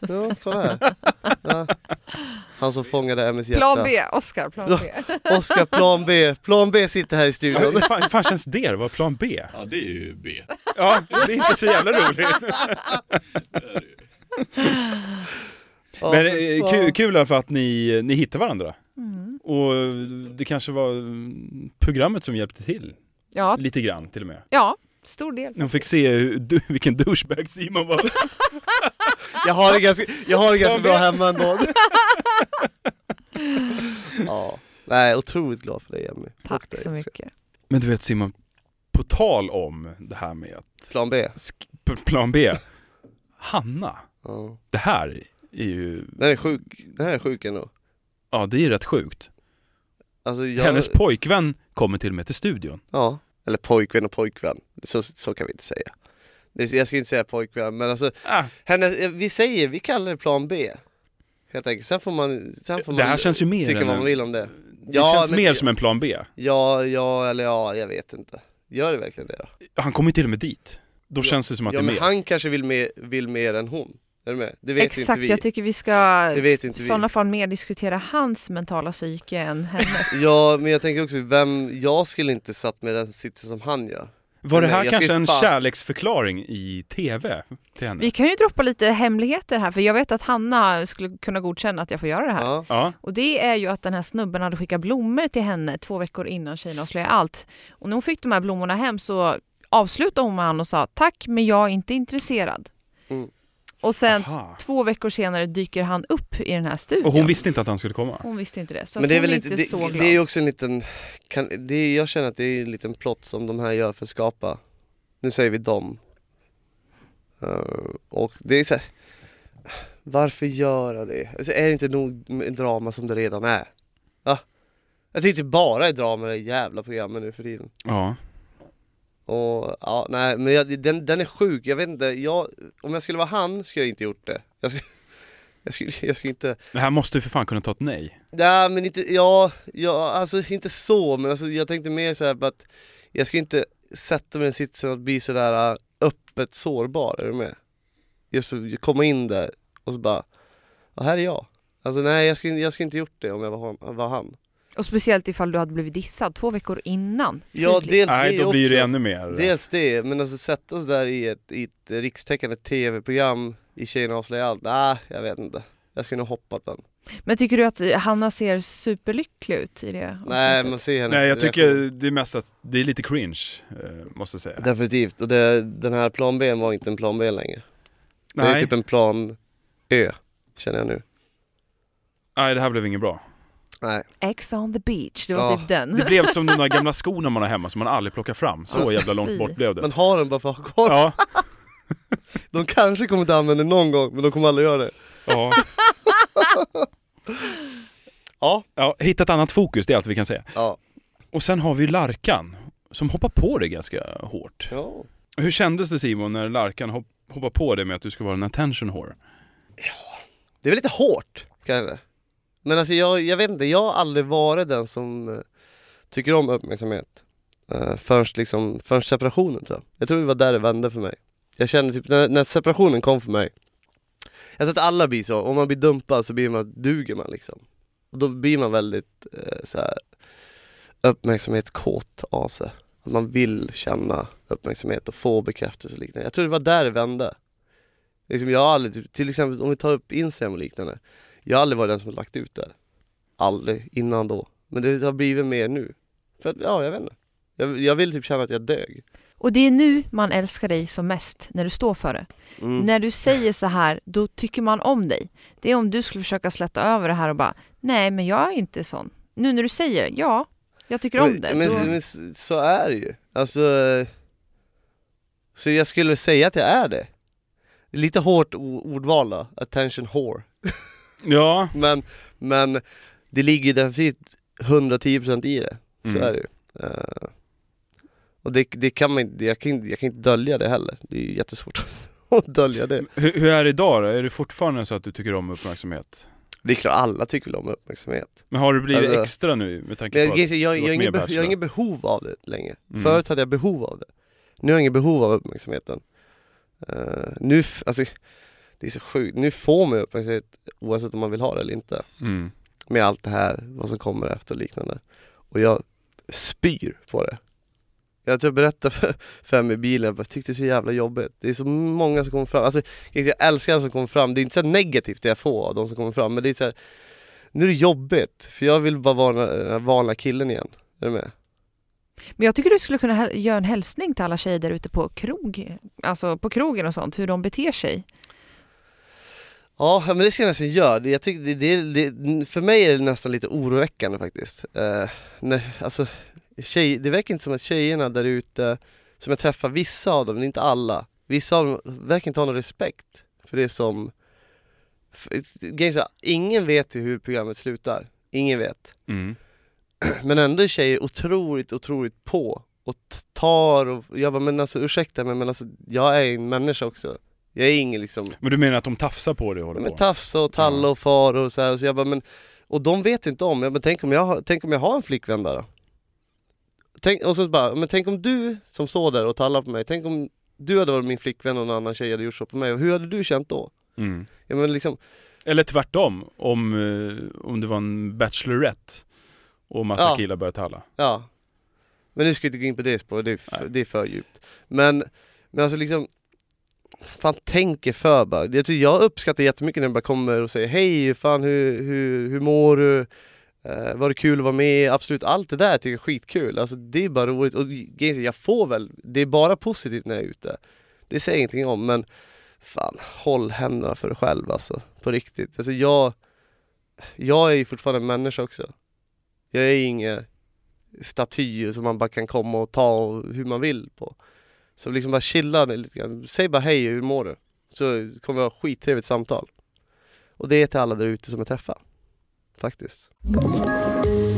[SPEAKER 2] Ja, kolla här. Ja. Han som fångade Emmys hjärta.
[SPEAKER 1] Plan B, Oscar, plan B.
[SPEAKER 2] Oscar Plan B. Plan B sitter här i studion.
[SPEAKER 3] Hur fan, fan känns det då? Vad plan B?
[SPEAKER 4] Ja, det är ju B.
[SPEAKER 3] Ja, det är inte så jävla roligt.
[SPEAKER 2] Ja,
[SPEAKER 3] Men
[SPEAKER 2] för
[SPEAKER 3] eh,
[SPEAKER 2] fan.
[SPEAKER 3] kul, kul i alla fall att ni, ni hittar varandra.
[SPEAKER 1] Mm.
[SPEAKER 3] Och det kanske var mm, programmet som hjälpte till.
[SPEAKER 1] Ja,
[SPEAKER 3] Lite grann till och med.
[SPEAKER 1] ja, stor del.
[SPEAKER 3] De fick se hur, du, vilken douchebag Simon var.
[SPEAKER 2] Jag har det ganska, jag har det ganska
[SPEAKER 3] Plan B.
[SPEAKER 2] bra hemma ändå. ja. Nej, otroligt glad för dig Emmy. Och
[SPEAKER 1] Tack
[SPEAKER 2] dig,
[SPEAKER 1] så
[SPEAKER 2] Oscar.
[SPEAKER 1] mycket.
[SPEAKER 3] Men du vet Simon, på tal om det här med att
[SPEAKER 2] Plan B.
[SPEAKER 3] sk- p- plan B. Hanna,
[SPEAKER 2] Ja.
[SPEAKER 3] det här är ju,
[SPEAKER 2] Den är sjuk, den här är sjuk ändå.
[SPEAKER 3] ja det är ju rätt sjukt.
[SPEAKER 2] Alltså jag,
[SPEAKER 3] Hennes pojkvän kommer till och med till studion.
[SPEAKER 2] Ja, eller pojkvän och pojkvän. Så, så kan vi inte säga. Det- Jag ska inte säga pojkvän, men alltså
[SPEAKER 3] Ah,
[SPEAKER 2] hennes, vi säger, vi kallar det plan B. Helt enkelt, sen får man, sen får
[SPEAKER 3] det här
[SPEAKER 2] man
[SPEAKER 3] känns ju mer
[SPEAKER 2] tycka
[SPEAKER 3] än
[SPEAKER 2] vad
[SPEAKER 3] en,
[SPEAKER 2] man vill om det.
[SPEAKER 3] Det
[SPEAKER 2] Ja,
[SPEAKER 3] känns
[SPEAKER 2] men-
[SPEAKER 3] mer som en plan B.
[SPEAKER 2] Ja, ja eller ja, jag vet inte. Gör det verkligen det då?
[SPEAKER 3] Han kommer ju till och med dit. Då känns det som att
[SPEAKER 2] Ja
[SPEAKER 3] det är
[SPEAKER 2] men
[SPEAKER 3] mer.
[SPEAKER 2] han kanske vill mer, vill mer än hon. Är du med? Det vet inte
[SPEAKER 1] Exakt,
[SPEAKER 2] vi.
[SPEAKER 1] jag tycker vi ska
[SPEAKER 2] det vet
[SPEAKER 1] i
[SPEAKER 2] inte vi.
[SPEAKER 1] sådana fall mer diskutera hans mentala psyke än hennes.
[SPEAKER 2] Ja men jag tänker också, vem, jag skulle inte satt med den sitsen som han gör.
[SPEAKER 3] Var det
[SPEAKER 2] Nej,
[SPEAKER 3] här
[SPEAKER 2] jag
[SPEAKER 3] kanske
[SPEAKER 2] ska ju
[SPEAKER 3] en
[SPEAKER 2] fan-
[SPEAKER 3] kärleksförklaring i TV till henne?
[SPEAKER 1] Vi kan ju droppa lite hemligheter här, för jag vet att Hanna skulle kunna godkänna att jag får göra det här.
[SPEAKER 2] Ja.
[SPEAKER 3] Ja,
[SPEAKER 1] Och det är ju att den här snubben hade skickat blommor till henne två veckor innan tjejerna avslöjade allt. Och när hon fick de här blommorna hem så avslutade hon med honom och sa tack men jag är inte intresserad.
[SPEAKER 2] Mm.
[SPEAKER 1] Och sen
[SPEAKER 3] Aha.
[SPEAKER 1] två veckor senare dyker han upp i den här studion.
[SPEAKER 3] Och hon visste inte att han skulle komma?
[SPEAKER 1] Hon visste inte det. Så
[SPEAKER 2] Men
[SPEAKER 1] att
[SPEAKER 2] det är
[SPEAKER 1] hon
[SPEAKER 2] väl
[SPEAKER 1] är
[SPEAKER 2] inte,
[SPEAKER 1] inte
[SPEAKER 2] det,
[SPEAKER 1] så glad.
[SPEAKER 2] det är ju också en liten, kan, det är, jag känner att det är en liten plott som de här gör för att skapa. Nu säger vi dem. Eh, och det är så här, varför göra det? Alltså, är det inte nog med drama som det redan är? Va? Jag tycker det bara är drama i det här jävla programmet nu för tiden.
[SPEAKER 3] Ja.
[SPEAKER 2] Och ja, nej men jag, den, den är sjuk, jag vet inte, jag, om jag skulle vara han skulle jag inte gjort det. Jag skulle, jag skulle, jag skulle inte,
[SPEAKER 3] Det här måste ju för fan kunna ta ett nej.
[SPEAKER 2] nej men inte, ja, ja, alltså inte så men alltså, jag tänkte mer så här på att jag skulle inte sätta mig i den sitsen att bli sådär äh, öppet sårbar, är du med? Just så, komma in där och så bara, ja här är jag. Alltså nej jag skulle, jag skulle inte gjort det om jag var, han- var han.
[SPEAKER 1] Och speciellt ifall du hade blivit dissad två veckor innan.
[SPEAKER 2] Ja
[SPEAKER 1] Tydligt.
[SPEAKER 2] dels
[SPEAKER 3] Nej,
[SPEAKER 2] det
[SPEAKER 3] då blir
[SPEAKER 2] också.
[SPEAKER 3] det ännu mer.
[SPEAKER 2] Dels det, men alltså sätta sig där i ett, i ett rikstäckande tv-program i Tjejerna avslöjar allt, nej jag vet inte. Jag skulle nog hoppat den.
[SPEAKER 1] Men tycker du att Hanna ser superlycklig ut i det?
[SPEAKER 2] Nej
[SPEAKER 1] avsnittet?
[SPEAKER 2] man ser hennes
[SPEAKER 3] Nej, jag tycker
[SPEAKER 2] reaktion.
[SPEAKER 3] det är mest att det är lite cringe, eh, måste jag säga.
[SPEAKER 2] Definitivt, och det, den här plan B var inte en plan B längre. Det är
[SPEAKER 3] nej,
[SPEAKER 2] typ en plan Ö, känner jag nu.
[SPEAKER 3] nej, det här blev inget bra.
[SPEAKER 2] Nej.
[SPEAKER 1] Ex on the beach, det var
[SPEAKER 2] Ja.
[SPEAKER 1] typ den.
[SPEAKER 3] Det blev som de där gamla skorna man har hemma som man aldrig plockar fram. Så jävla
[SPEAKER 1] Fy.
[SPEAKER 3] långt bort blev det.
[SPEAKER 2] Man har den bara för att ha kvar.
[SPEAKER 3] Ja,
[SPEAKER 2] De kanske kommer att använda den någon gång, men de kommer aldrig göra det.
[SPEAKER 3] ja.
[SPEAKER 2] Ja.
[SPEAKER 3] ja, hitta ett annat fokus, det är allt vi kan säga.
[SPEAKER 2] Ja.
[SPEAKER 3] Och sen har vi ju Larkan, som hoppar på det ganska hårt.
[SPEAKER 2] ja.
[SPEAKER 3] Hur kändes det Simon när Larkan hopp, hoppade på det med att du ska vara en attention whore?
[SPEAKER 2] Det är väl lite hårt kanske. Men alltså jag, jag vet inte, jag har aldrig varit den som eh, tycker om uppmärksamhet. Uh, förrän, liksom, förrän separationen tror jag. Jag tror det var där det vände för mig. Jag kände typ, när, när separationen kom för mig. Jag tror att alla blir så, om man blir dumpad så blir man, duger man liksom. Och då blir man väldigt uh, så här uppmärksamhetskåt av sig. Att man vill känna uppmärksamhet och få bekräftelse och liknande. Jag tror det var där det vände. Liksom jag har aldrig, typ- till exempel om vi tar upp Instagram och liknande. Jag har aldrig varit den som har lagt ut där. Aldrig innan då. Men det har blivit mer nu. För att, ja, jag vet inte. Jag, jag vill typ känna att jag dög.
[SPEAKER 1] Och det är nu man älskar dig som mest, när du står för det.
[SPEAKER 2] Mm.
[SPEAKER 1] När du säger så här, då tycker man om dig. Det är om du skulle försöka släta över det här och bara, nej men jag är inte sån. Nu när du säger, ja, jag tycker om det.
[SPEAKER 2] Men, men,
[SPEAKER 1] då,
[SPEAKER 2] men s- så är det ju. Alltså, så jag skulle säga att jag är det. Lite hårt o- ordval då, attention whore.
[SPEAKER 3] Ja,
[SPEAKER 2] Men, men det ligger ju definitivt 110% i det. Så
[SPEAKER 3] Mm.
[SPEAKER 2] är det ju. Eh, och det, det kan man inte, jag kan, inte- jag kan inte dölja det heller. Det är ju jättesvårt att dölja det.
[SPEAKER 3] Mm. hur, hur är det idag då? Är det fortfarande så att du tycker om uppmärksamhet?
[SPEAKER 2] Det är klart, alla tycker väl om uppmärksamhet. Men
[SPEAKER 3] Men har du blivit
[SPEAKER 2] Alltså-
[SPEAKER 3] extra nu med tanke
[SPEAKER 2] jag,
[SPEAKER 3] på
[SPEAKER 2] jag,
[SPEAKER 3] att...
[SPEAKER 2] jag, jag,
[SPEAKER 3] du
[SPEAKER 2] jag,
[SPEAKER 3] har
[SPEAKER 2] har
[SPEAKER 3] varit
[SPEAKER 2] ingen
[SPEAKER 3] med i
[SPEAKER 2] be- jag har
[SPEAKER 3] Bachelor.
[SPEAKER 2] inget behov av det längre.
[SPEAKER 3] Mm.
[SPEAKER 2] Förut hade jag behov av det. Nu har jag inget behov av uppmärksamheten. Eh, nu, f- alltså, Det är så sjukt, nu får man ju uppmärksamhet oavsett om man vill ha det eller inte
[SPEAKER 3] Mm.
[SPEAKER 2] Med allt det här, vad som kommer efter och liknande Och jag spyr på det Jag tror jag berättade för, för mig i bilen, jag bara, tyckte det är så jävla jobbigt Det är så många som kommer fram, alltså jag älskar de som kommer fram Det är inte så här negativt det jag får av de som kommer fram men det är så här, Nu är det jobbigt, för jag vill bara vara den här vanliga killen igen Är du med?
[SPEAKER 1] Men jag tycker du skulle kunna häl- göra en hälsning till alla tjejer där ute på krog, alltså på krogen och sånt, hur de beter sig.
[SPEAKER 2] Ja, men det ska jag nästan göra. Det- Jag tycker det, det, det, för mig är det nästan lite oroväckande faktiskt. Eh, när, alltså, tjej, det verkar inte som att tjejerna där ute, som jag träffar, vissa av dem, det är inte alla, vissa av dem verkar inte ha någon respekt för det som... För, grejen är så här, ingen vet ju hur programmet slutar. Ingen vet.
[SPEAKER 3] Mm.
[SPEAKER 2] Men ändå är tjejer otroligt, otroligt på och t- tar och... Jag bara, men alltså ursäkta mig men alltså jag är en människa också. Jag är ingen liksom
[SPEAKER 3] Men du menar att de tafsar på dig och håller
[SPEAKER 2] men
[SPEAKER 3] på?
[SPEAKER 2] tafsa och talla och far och så här. Så jag bara, men, och de vet inte om, jag bara, tänk, om jag, har- tänk om jag har en flickvän där då? Tänk, och så bara, men tänk om du som står där och tallar på mig, tänk om du hade varit min flickvän och en annan tjej hade gjort så på mig, hur hade du känt då?
[SPEAKER 3] Mm.
[SPEAKER 2] Ja, men liksom,
[SPEAKER 3] Eller tvärtom, om, eh, om det var en Bachelorette och massa
[SPEAKER 2] Ja.
[SPEAKER 3] killar började talla.
[SPEAKER 2] ja. Men nu ska jag inte gå in på det spåret, det, är för-
[SPEAKER 3] Nej.
[SPEAKER 2] det är för djupt. Men, men alltså liksom, fan tänk er för bara. Jag, tycker- jag uppskattar jättemycket när de bara kommer och säger hej, fan hur, hur, hur mår du? Eh, var det kul att vara med? Absolut, allt det där tycker jag är skitkul. Alltså det är bara roligt och grejen är, jag får väl, det är bara positivt när jag är ute. Det säger jag ingenting om men fan, håll händerna för dig själv alltså. På riktigt. Alltså jag, jag är ju fortfarande en människa också. Jag är ingen staty som man bara kan komma och ta och hur man vill på. Så liksom bara chilla ner lite grann. Säg bara hej, hur mår du? Så kommer vi ha skittrevligt samtal. Och det är till alla där ute som jag träffar. Faktiskt.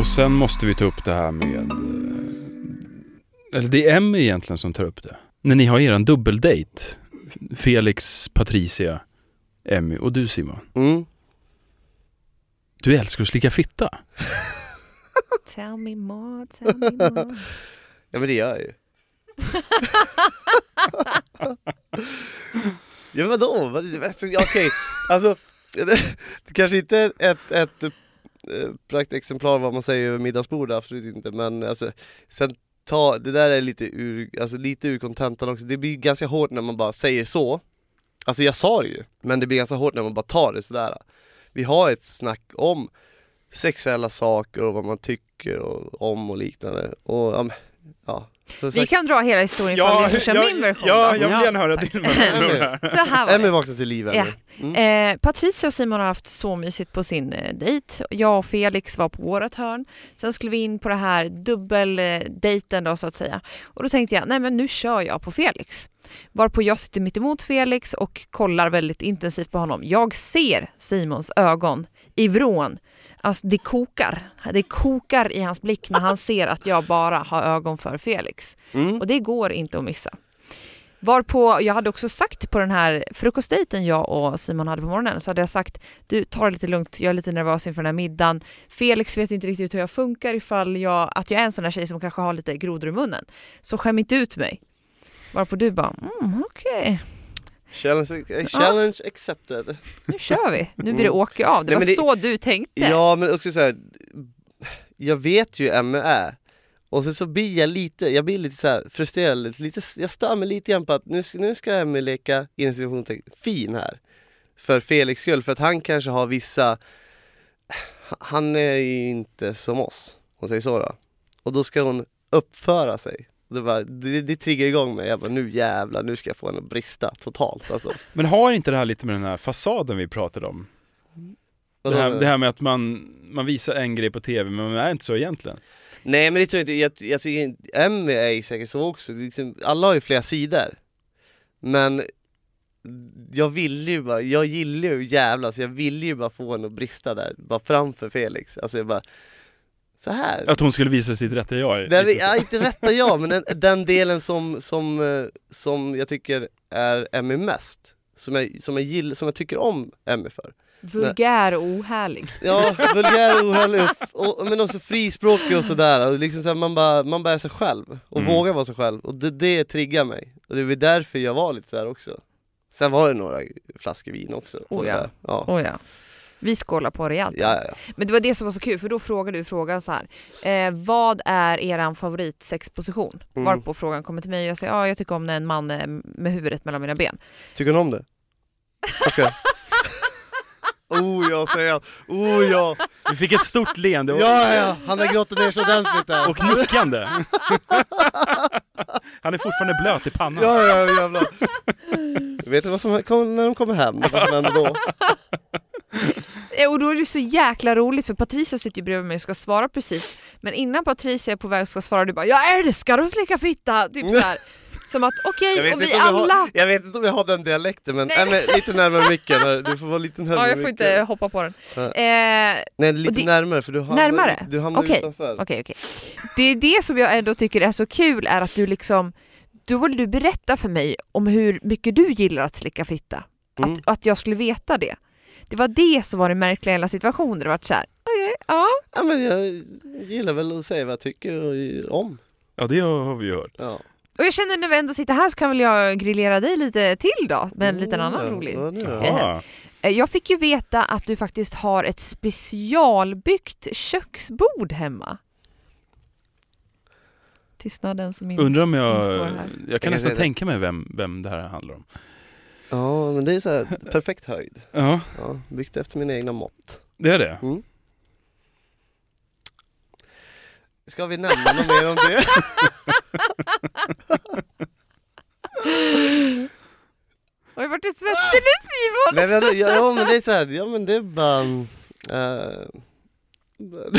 [SPEAKER 3] Och sen måste vi ta upp det här med... eh, Eller det är Emmy egentligen som tar upp det. När ni har er en dubbeldejt. Felix, Patricia, Emmy och du Simon.
[SPEAKER 2] Mm.
[SPEAKER 3] Du älskar att slicka fitta.
[SPEAKER 1] Tell me more, tell me more.
[SPEAKER 2] Ja men det gör jag ju. ja men vadå? Vad- alltså, ja, Okej, alltså det, det kanske inte är ett, ett eh, praktexemplar vad man säger över middagsbordet, absolut inte men alltså sen ta, det där är lite ur, alltså lite ur kontentan också, det blir ganska hårt när man bara säger så Alltså jag sa det ju, men det blir ganska hårt när man bara tar det sådär Vi har ett snack om sexuella saker och vad man tycker och, om och liknande och ja, men, ja. Så
[SPEAKER 1] Vi
[SPEAKER 2] sagt-
[SPEAKER 1] kan dra hela historien ifall du vill köra min version
[SPEAKER 3] Ja,
[SPEAKER 1] då.
[SPEAKER 3] jag vill gärna höra din version. av det här.
[SPEAKER 1] Så här var
[SPEAKER 2] Emmy
[SPEAKER 1] det.
[SPEAKER 2] vaknar till liv Emmy.
[SPEAKER 1] Ja. Eh, Patricia och Simon har haft så mysigt på sin eh, dejt. Jag och Felix var på vårt hörn. Sen skulle vi in på det här dubbeldejten då så att säga. Och då tänkte jag, nej men nu kör jag på Felix. Varpå jag sitter mitt emot Felix och kollar väldigt intensivt på honom. Jag ser Simons ögon i vrån. Alltså det kokar. Det kokar i hans blick när han ser att jag bara har ögon för Felix.
[SPEAKER 2] Mm?
[SPEAKER 1] Och det går inte att missa. Varpå jag hade också sagt på den här frukostdejten jag och Simon hade på morgonen så hade jag sagt du tar det lite lugnt, jag är lite nervös inför den här middagen. Felix vet inte riktigt hur jag funkar ifall jag, att jag är en sån här tjej som kanske har lite grodor i munnen. Så skäm inte ut mig. Varpå du bara mm, okej,
[SPEAKER 2] Challenge, eh, challenge accepted.
[SPEAKER 1] nu kör vi, nu blir det åka av. Det
[SPEAKER 2] Mm. Nej,
[SPEAKER 1] var
[SPEAKER 2] men det-
[SPEAKER 1] så du tänkte.
[SPEAKER 2] Ja men också så här. jag vet ju hur Emma är. Och sen så blir jag lite, jag blir lite så här frustrerad, lite, lite, jag stör mig lite grann på att nu, ska- nu ska Emma leka inom situationstecken fin här. För Felix skull, för att han kanske har vissa, han är ju inte som oss, om man säger så då. Och då ska hon uppföra sig. Det, bara, det, det triggar igång mig, jag bara nu jävlar, nu ska jag få henne att brista totalt alltså.
[SPEAKER 3] Men har inte det här lite med den här fasaden vi pratade om? Det här,
[SPEAKER 2] Vadå?
[SPEAKER 3] det här med att man, man visar en grej på tv men man är inte så egentligen.
[SPEAKER 2] Nej men det tror jag inte, jag, jag tycker inte- Emmy är ju säkert så också, Det är liksom, alla har ju flera sidor Men jag ville ju bara, jag gillar ju att jävlas, jag ville ju bara få henne att brista där, bara framför Felix, alltså jag bara så här.
[SPEAKER 3] Att hon skulle visa sitt rätta jag.
[SPEAKER 2] Nej,
[SPEAKER 3] är
[SPEAKER 2] men,
[SPEAKER 3] lite så.
[SPEAKER 2] ja, inte rätta jag, men den, den delen som, som, eh, som jag tycker är Emmy mest som jag, som, jag gill, som jag tycker om Emmy för.
[SPEAKER 1] Vulgär och ohärlig.
[SPEAKER 2] Ja, vulgär, ohärlig och, f- och, men också frispråkig och sådär. Och liksom så här, man, bara, man bara är sig själv och
[SPEAKER 3] Mm.
[SPEAKER 2] vågar vara sig själv. Och det, det triggar mig. Och det var därför jag var lite sådär också. Sen var det några flaskor vin också. på
[SPEAKER 1] Oh,
[SPEAKER 2] det
[SPEAKER 1] ja.
[SPEAKER 2] där. Ja.
[SPEAKER 1] Oh, ja. Vi skålar på rejält.
[SPEAKER 2] Ja, ja, ja.
[SPEAKER 1] Men det var det som var så kul för då frågade du frågan så här. Eh, vad är eran favoritsexposition?
[SPEAKER 2] Mm.
[SPEAKER 1] Varpå frågan kommer till mig och jag säger ja, jag tycker om när en man är med huvudet mellan mina ben.
[SPEAKER 2] Tycker hon om det? Jag ska... Oh ja, säger jag. Oh ja.
[SPEAKER 3] Vi fick ett stort leende och,
[SPEAKER 2] Ja, ja, han har grottat ner sig ordentligt där.
[SPEAKER 3] och nickande. Han är fortfarande blöt i pannan.
[SPEAKER 2] Ja, ja, jävlar. Vet du vad som kom, när de kommer hem? Vad som händer då?
[SPEAKER 1] Eh, Och då är det så jäkla roligt för Patricia sitter ju bredvid mig och ska svara precis. Men innan Patricia är på väg och ska svara du bara “Jag älskar att slicka fitta!” Typ så här. Som att okej,
[SPEAKER 2] Jag vet,
[SPEAKER 1] och vi
[SPEAKER 2] inte om jag,
[SPEAKER 1] alla...
[SPEAKER 2] har, jag vet inte om jag har den dialekten men,
[SPEAKER 1] Nej.
[SPEAKER 2] nej. men lite närmare micken, här. du får vara lite närmare
[SPEAKER 1] Ja, jag får
[SPEAKER 2] micken.
[SPEAKER 1] inte hoppa på den.
[SPEAKER 2] Ja.
[SPEAKER 1] Eh,
[SPEAKER 2] Nej lite
[SPEAKER 1] Och det-
[SPEAKER 2] närmare för du hamnar,
[SPEAKER 1] Närmare?
[SPEAKER 2] Du hamnar
[SPEAKER 1] Okej.
[SPEAKER 2] utanför.
[SPEAKER 1] Okej, okej. Det är det som jag ändå tycker är så kul är att du liksom, då vill du berätta för mig om hur mycket du gillar att slicka fitta.
[SPEAKER 2] Mm.
[SPEAKER 1] Att, att jag skulle veta det. Det var det som var det märkliga i hela situationen. Det var så här, okej, ja.
[SPEAKER 2] Ja, men jag gillar väl att säga vad jag tycker om.
[SPEAKER 3] Ja, det har vi ju hört.
[SPEAKER 2] Ja.
[SPEAKER 1] Och jag känner när vi ändå sitter här så kan väl jag grillera dig lite till då, med en liten annan
[SPEAKER 2] Mm,
[SPEAKER 1] rolig.
[SPEAKER 2] ja, det är det.
[SPEAKER 3] Ja.
[SPEAKER 1] Eh, Jag fick ju veta att du faktiskt har ett specialbyggt köksbord hemma. Tystnaden som inte...
[SPEAKER 3] Undrar om jag...
[SPEAKER 1] Den står här.
[SPEAKER 3] Jag kan
[SPEAKER 2] Jag
[SPEAKER 3] nästan
[SPEAKER 2] vet-
[SPEAKER 3] tänka mig vem, vem det här handlar om.
[SPEAKER 2] ja men det är så här, perfekt höjd.
[SPEAKER 3] Ja,
[SPEAKER 2] Ja, byggt efter mina egna mått.
[SPEAKER 3] det är det.
[SPEAKER 2] Ska vi nämna något mer om det?
[SPEAKER 1] Oj, vart är svettig nu Simon?
[SPEAKER 2] Nej, men, ja, ja men det är så här, ja men det är bara... mm, eh,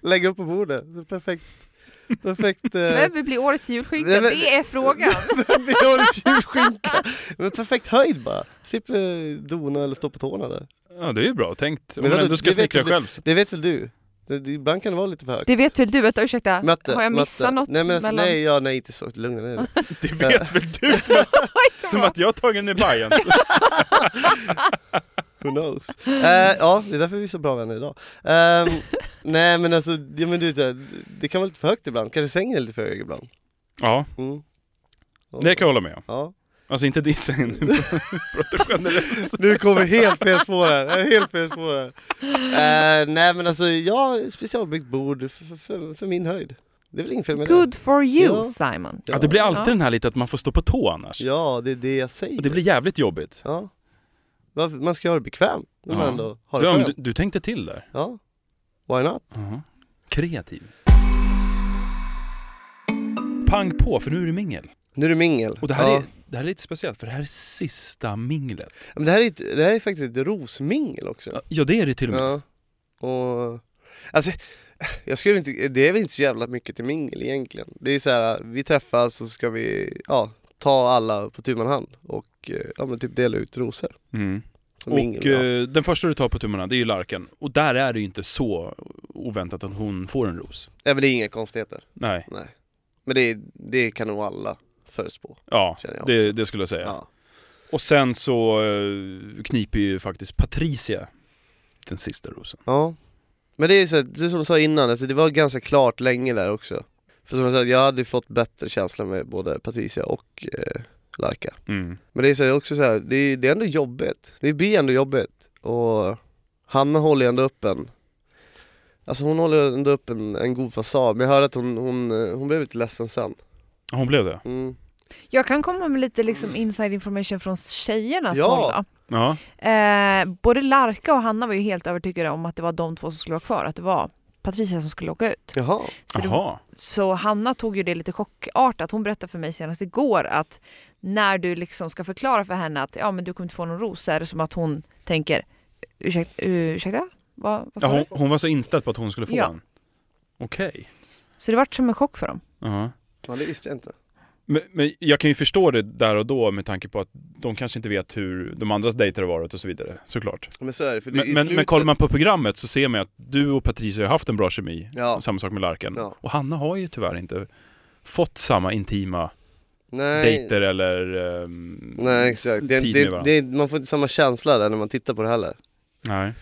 [SPEAKER 2] lägga upp på bordet, Det är perfekt. Perfekt. eh,
[SPEAKER 1] Vem vill bli årets julskinka?
[SPEAKER 2] Nej, men-
[SPEAKER 1] Det är frågan.
[SPEAKER 2] det är årets julskinka. Men perfekt höjd bara. Slipper eh, dona eller stå på tårna där.
[SPEAKER 3] Ja, det är ju bra tänkt.
[SPEAKER 2] Men
[SPEAKER 3] Om man
[SPEAKER 2] vadå,
[SPEAKER 3] ändå ska
[SPEAKER 2] det vet
[SPEAKER 3] snickra
[SPEAKER 2] du-
[SPEAKER 3] själv. så-
[SPEAKER 2] Det vet väl du? Det, det, ibland kan det vara lite för högt.
[SPEAKER 1] Det vet väl du? Vänta, ursäkta.
[SPEAKER 2] Mötte,
[SPEAKER 1] har jag missat
[SPEAKER 2] mötte.
[SPEAKER 1] något?
[SPEAKER 2] Nej men alltså,
[SPEAKER 1] mellan...
[SPEAKER 2] nej, ja, nej inte så, lugna ner dig.
[SPEAKER 3] Det vet väl du som att, som att jag har tagit den i Bajen.
[SPEAKER 2] Who knows? Eh, ja, det är därför vi är så bra vänner idag. Ehm, nej men alltså, ja, men du vet, så här, det kan vara lite för högt ibland, kanske sängen är lite för hög ibland.
[SPEAKER 3] Ja,
[SPEAKER 2] Mm. Och-
[SPEAKER 3] det kan jag hålla med om.
[SPEAKER 2] Ja.
[SPEAKER 3] Alltså inte din säng. nu pratar generellt.
[SPEAKER 2] Nu kommer helt fel spår här, jag är helt fel spår här. Eh, nej men alltså, ja, specialbyggt bord för, för, för min höjd. Det är väl inget fel med det?
[SPEAKER 1] Good for you
[SPEAKER 2] Ja.
[SPEAKER 1] Simon.
[SPEAKER 3] Ja, det blir
[SPEAKER 1] Ja.
[SPEAKER 3] alltid den här lite att man får stå på tå annars.
[SPEAKER 2] Ja, det är det jag säger.
[SPEAKER 3] Och det blir jävligt jobbigt.
[SPEAKER 2] Ja. Varför- Man ska göra det bekvämt när man
[SPEAKER 3] Ja.
[SPEAKER 2] ändå har det
[SPEAKER 3] Du, om du,
[SPEAKER 2] skönt.
[SPEAKER 3] du tänkte till där.
[SPEAKER 2] Ja. Why not?
[SPEAKER 3] Kreativ. Pang på, för nu är det mingel.
[SPEAKER 2] Nu är det mingel.
[SPEAKER 3] Och det här,
[SPEAKER 2] ja.
[SPEAKER 3] är, det här är lite speciellt, för det här är sista minglet.
[SPEAKER 2] Men det, här är, ett- det här är faktiskt ett rosmingel också.
[SPEAKER 3] Ja, det är det till och med.
[SPEAKER 2] Ja. Och... Alltså, jag skulle inte, det är väl inte så jävla mycket till mingel egentligen. Det är så här, vi träffas och så ska vi ja, ta alla på tu man hand och eh, ja, men typ dela ut rosor.
[SPEAKER 3] Mm.
[SPEAKER 2] Och,
[SPEAKER 3] Och
[SPEAKER 2] mingel, ja.
[SPEAKER 3] eh, den första du tar på tummarna, det är ju Larkan. Och där är det ju inte så oväntat att hon får en ros.
[SPEAKER 2] ja, men det är inga konstigheter.
[SPEAKER 3] Nej,
[SPEAKER 2] Nej. Men det, är- det kan nog alla förutspå.
[SPEAKER 3] ja,
[SPEAKER 2] Känner jag
[SPEAKER 3] det, det skulle jag säga.
[SPEAKER 2] Ja.
[SPEAKER 3] Och sen så eh, kniper ju faktiskt Patricia den sista rosen.
[SPEAKER 2] Ja. Men det är ju så, här, det är som du sa innan, alltså det var ganska klart länge där också. För som jag sa, jag hade ju fått bättre känsla med både Patricia och eh, Larka.
[SPEAKER 1] Mm.
[SPEAKER 2] Men det är så här, också så här, det, är, det är ändå jobbigt. Det blir ändå jobbigt. Och Hanna håller ju ändå upp en, alltså hon håller ändå upp en, en god fasad. Men jag hörde att hon, hon, eh, hon blev lite ledsen sen.
[SPEAKER 3] Hon blev det?
[SPEAKER 2] Mm.
[SPEAKER 1] Jag kan komma med lite liksom, inside information från tjejernas
[SPEAKER 2] Ja.
[SPEAKER 1] håll. då.
[SPEAKER 3] Ja.
[SPEAKER 1] Eh, både Larka och Hanna var ju helt övertygade om att det var de två som skulle vara kvar, att det var Patricia som skulle åka ut.
[SPEAKER 2] Jaha.
[SPEAKER 1] Så, det,
[SPEAKER 3] Jaha.
[SPEAKER 1] så Hanna tog ju det lite chockartat. Hon berättade för mig senast igår att när du liksom ska förklara för henne att ja, men du kommer inte få någon ros så är det som att hon tänker Ursäkta? ursäkta? Vad, vad sa
[SPEAKER 3] Ja, hon,
[SPEAKER 1] du?
[SPEAKER 3] hon var så inställd på att hon skulle få
[SPEAKER 1] Ja.
[SPEAKER 3] den? Okej.
[SPEAKER 1] Så det vart som en chock för dem.
[SPEAKER 3] Ja.
[SPEAKER 2] Ja, det visste jag inte.
[SPEAKER 3] Men, men jag kan ju förstå det där och då med tanke på att de kanske inte vet hur de andras dejter har varit och så vidare, såklart.
[SPEAKER 2] Men så är det, för det,
[SPEAKER 3] Men,
[SPEAKER 2] i
[SPEAKER 3] men,
[SPEAKER 2] slutet,
[SPEAKER 3] men kollar man på programmet så ser man ju att du och Patricia har haft en bra kemi.
[SPEAKER 2] Ja.
[SPEAKER 3] Samma sak med Larken.
[SPEAKER 2] Ja.
[SPEAKER 3] Och Hanna har ju tyvärr inte fått samma intima
[SPEAKER 2] Nej.
[SPEAKER 3] dejter eller ehm,
[SPEAKER 2] Nej exakt, det,
[SPEAKER 3] tid med
[SPEAKER 2] det,
[SPEAKER 3] varandra.
[SPEAKER 2] det, man får inte samma känsla där när man tittar på det heller.
[SPEAKER 3] Nej.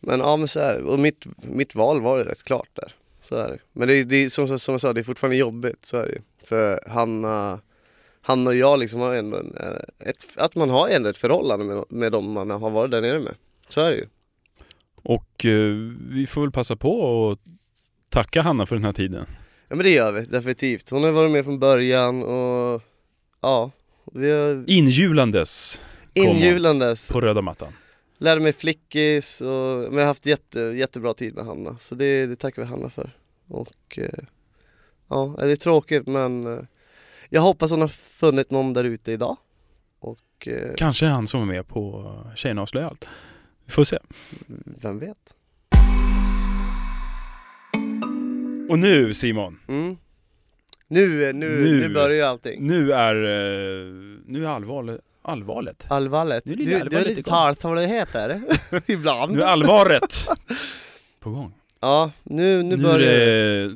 [SPEAKER 2] Men ja men så är det. och mitt, mitt val var ju rätt klart där. Så är det. Men det, är- det är som, som jag sa, det är fortfarande jobbigt, så är det ju. För Hanna, Hanna och jag liksom har ändå en, eh, ett, att man har ändå ett förhållande med, med dem man har varit där nere med. Så är det ju.
[SPEAKER 3] Och eh, vi får väl passa på att tacka Hanna för den här tiden.
[SPEAKER 2] Ja men det gör vi, definitivt. Hon har varit med från början och ja, vi har
[SPEAKER 3] Injulandes Kom.
[SPEAKER 2] injulandes.
[SPEAKER 3] på röda mattan.
[SPEAKER 2] Lärde mig flickis och men jag har haft jätte, jättebra tid med Hanna. Så det, det tackar vi Hanna för. Och eh, ja, det är tråkigt men eh, jag hoppas hon har funnit någon där ute idag. Och eh,
[SPEAKER 3] Kanske han som är med på Tjejerna avslöjar allt. Vi får se.
[SPEAKER 2] vem vet?
[SPEAKER 3] Och nu Simon,
[SPEAKER 2] Mm. Nu, eh, nu,
[SPEAKER 3] Nu.
[SPEAKER 2] nu. nu börjar ju allting.
[SPEAKER 3] nu är, eh, nu är allvar, allvaret.
[SPEAKER 2] Allvarligt.
[SPEAKER 3] Nu är
[SPEAKER 2] Du, du
[SPEAKER 3] lite
[SPEAKER 2] har
[SPEAKER 3] allvarligt
[SPEAKER 2] lite
[SPEAKER 3] igång.
[SPEAKER 2] talsamhet där. Ibland.
[SPEAKER 3] Nu är allvaret på gång.
[SPEAKER 2] ja, nu, nu,
[SPEAKER 3] Nu, är
[SPEAKER 2] börjar det.
[SPEAKER 3] det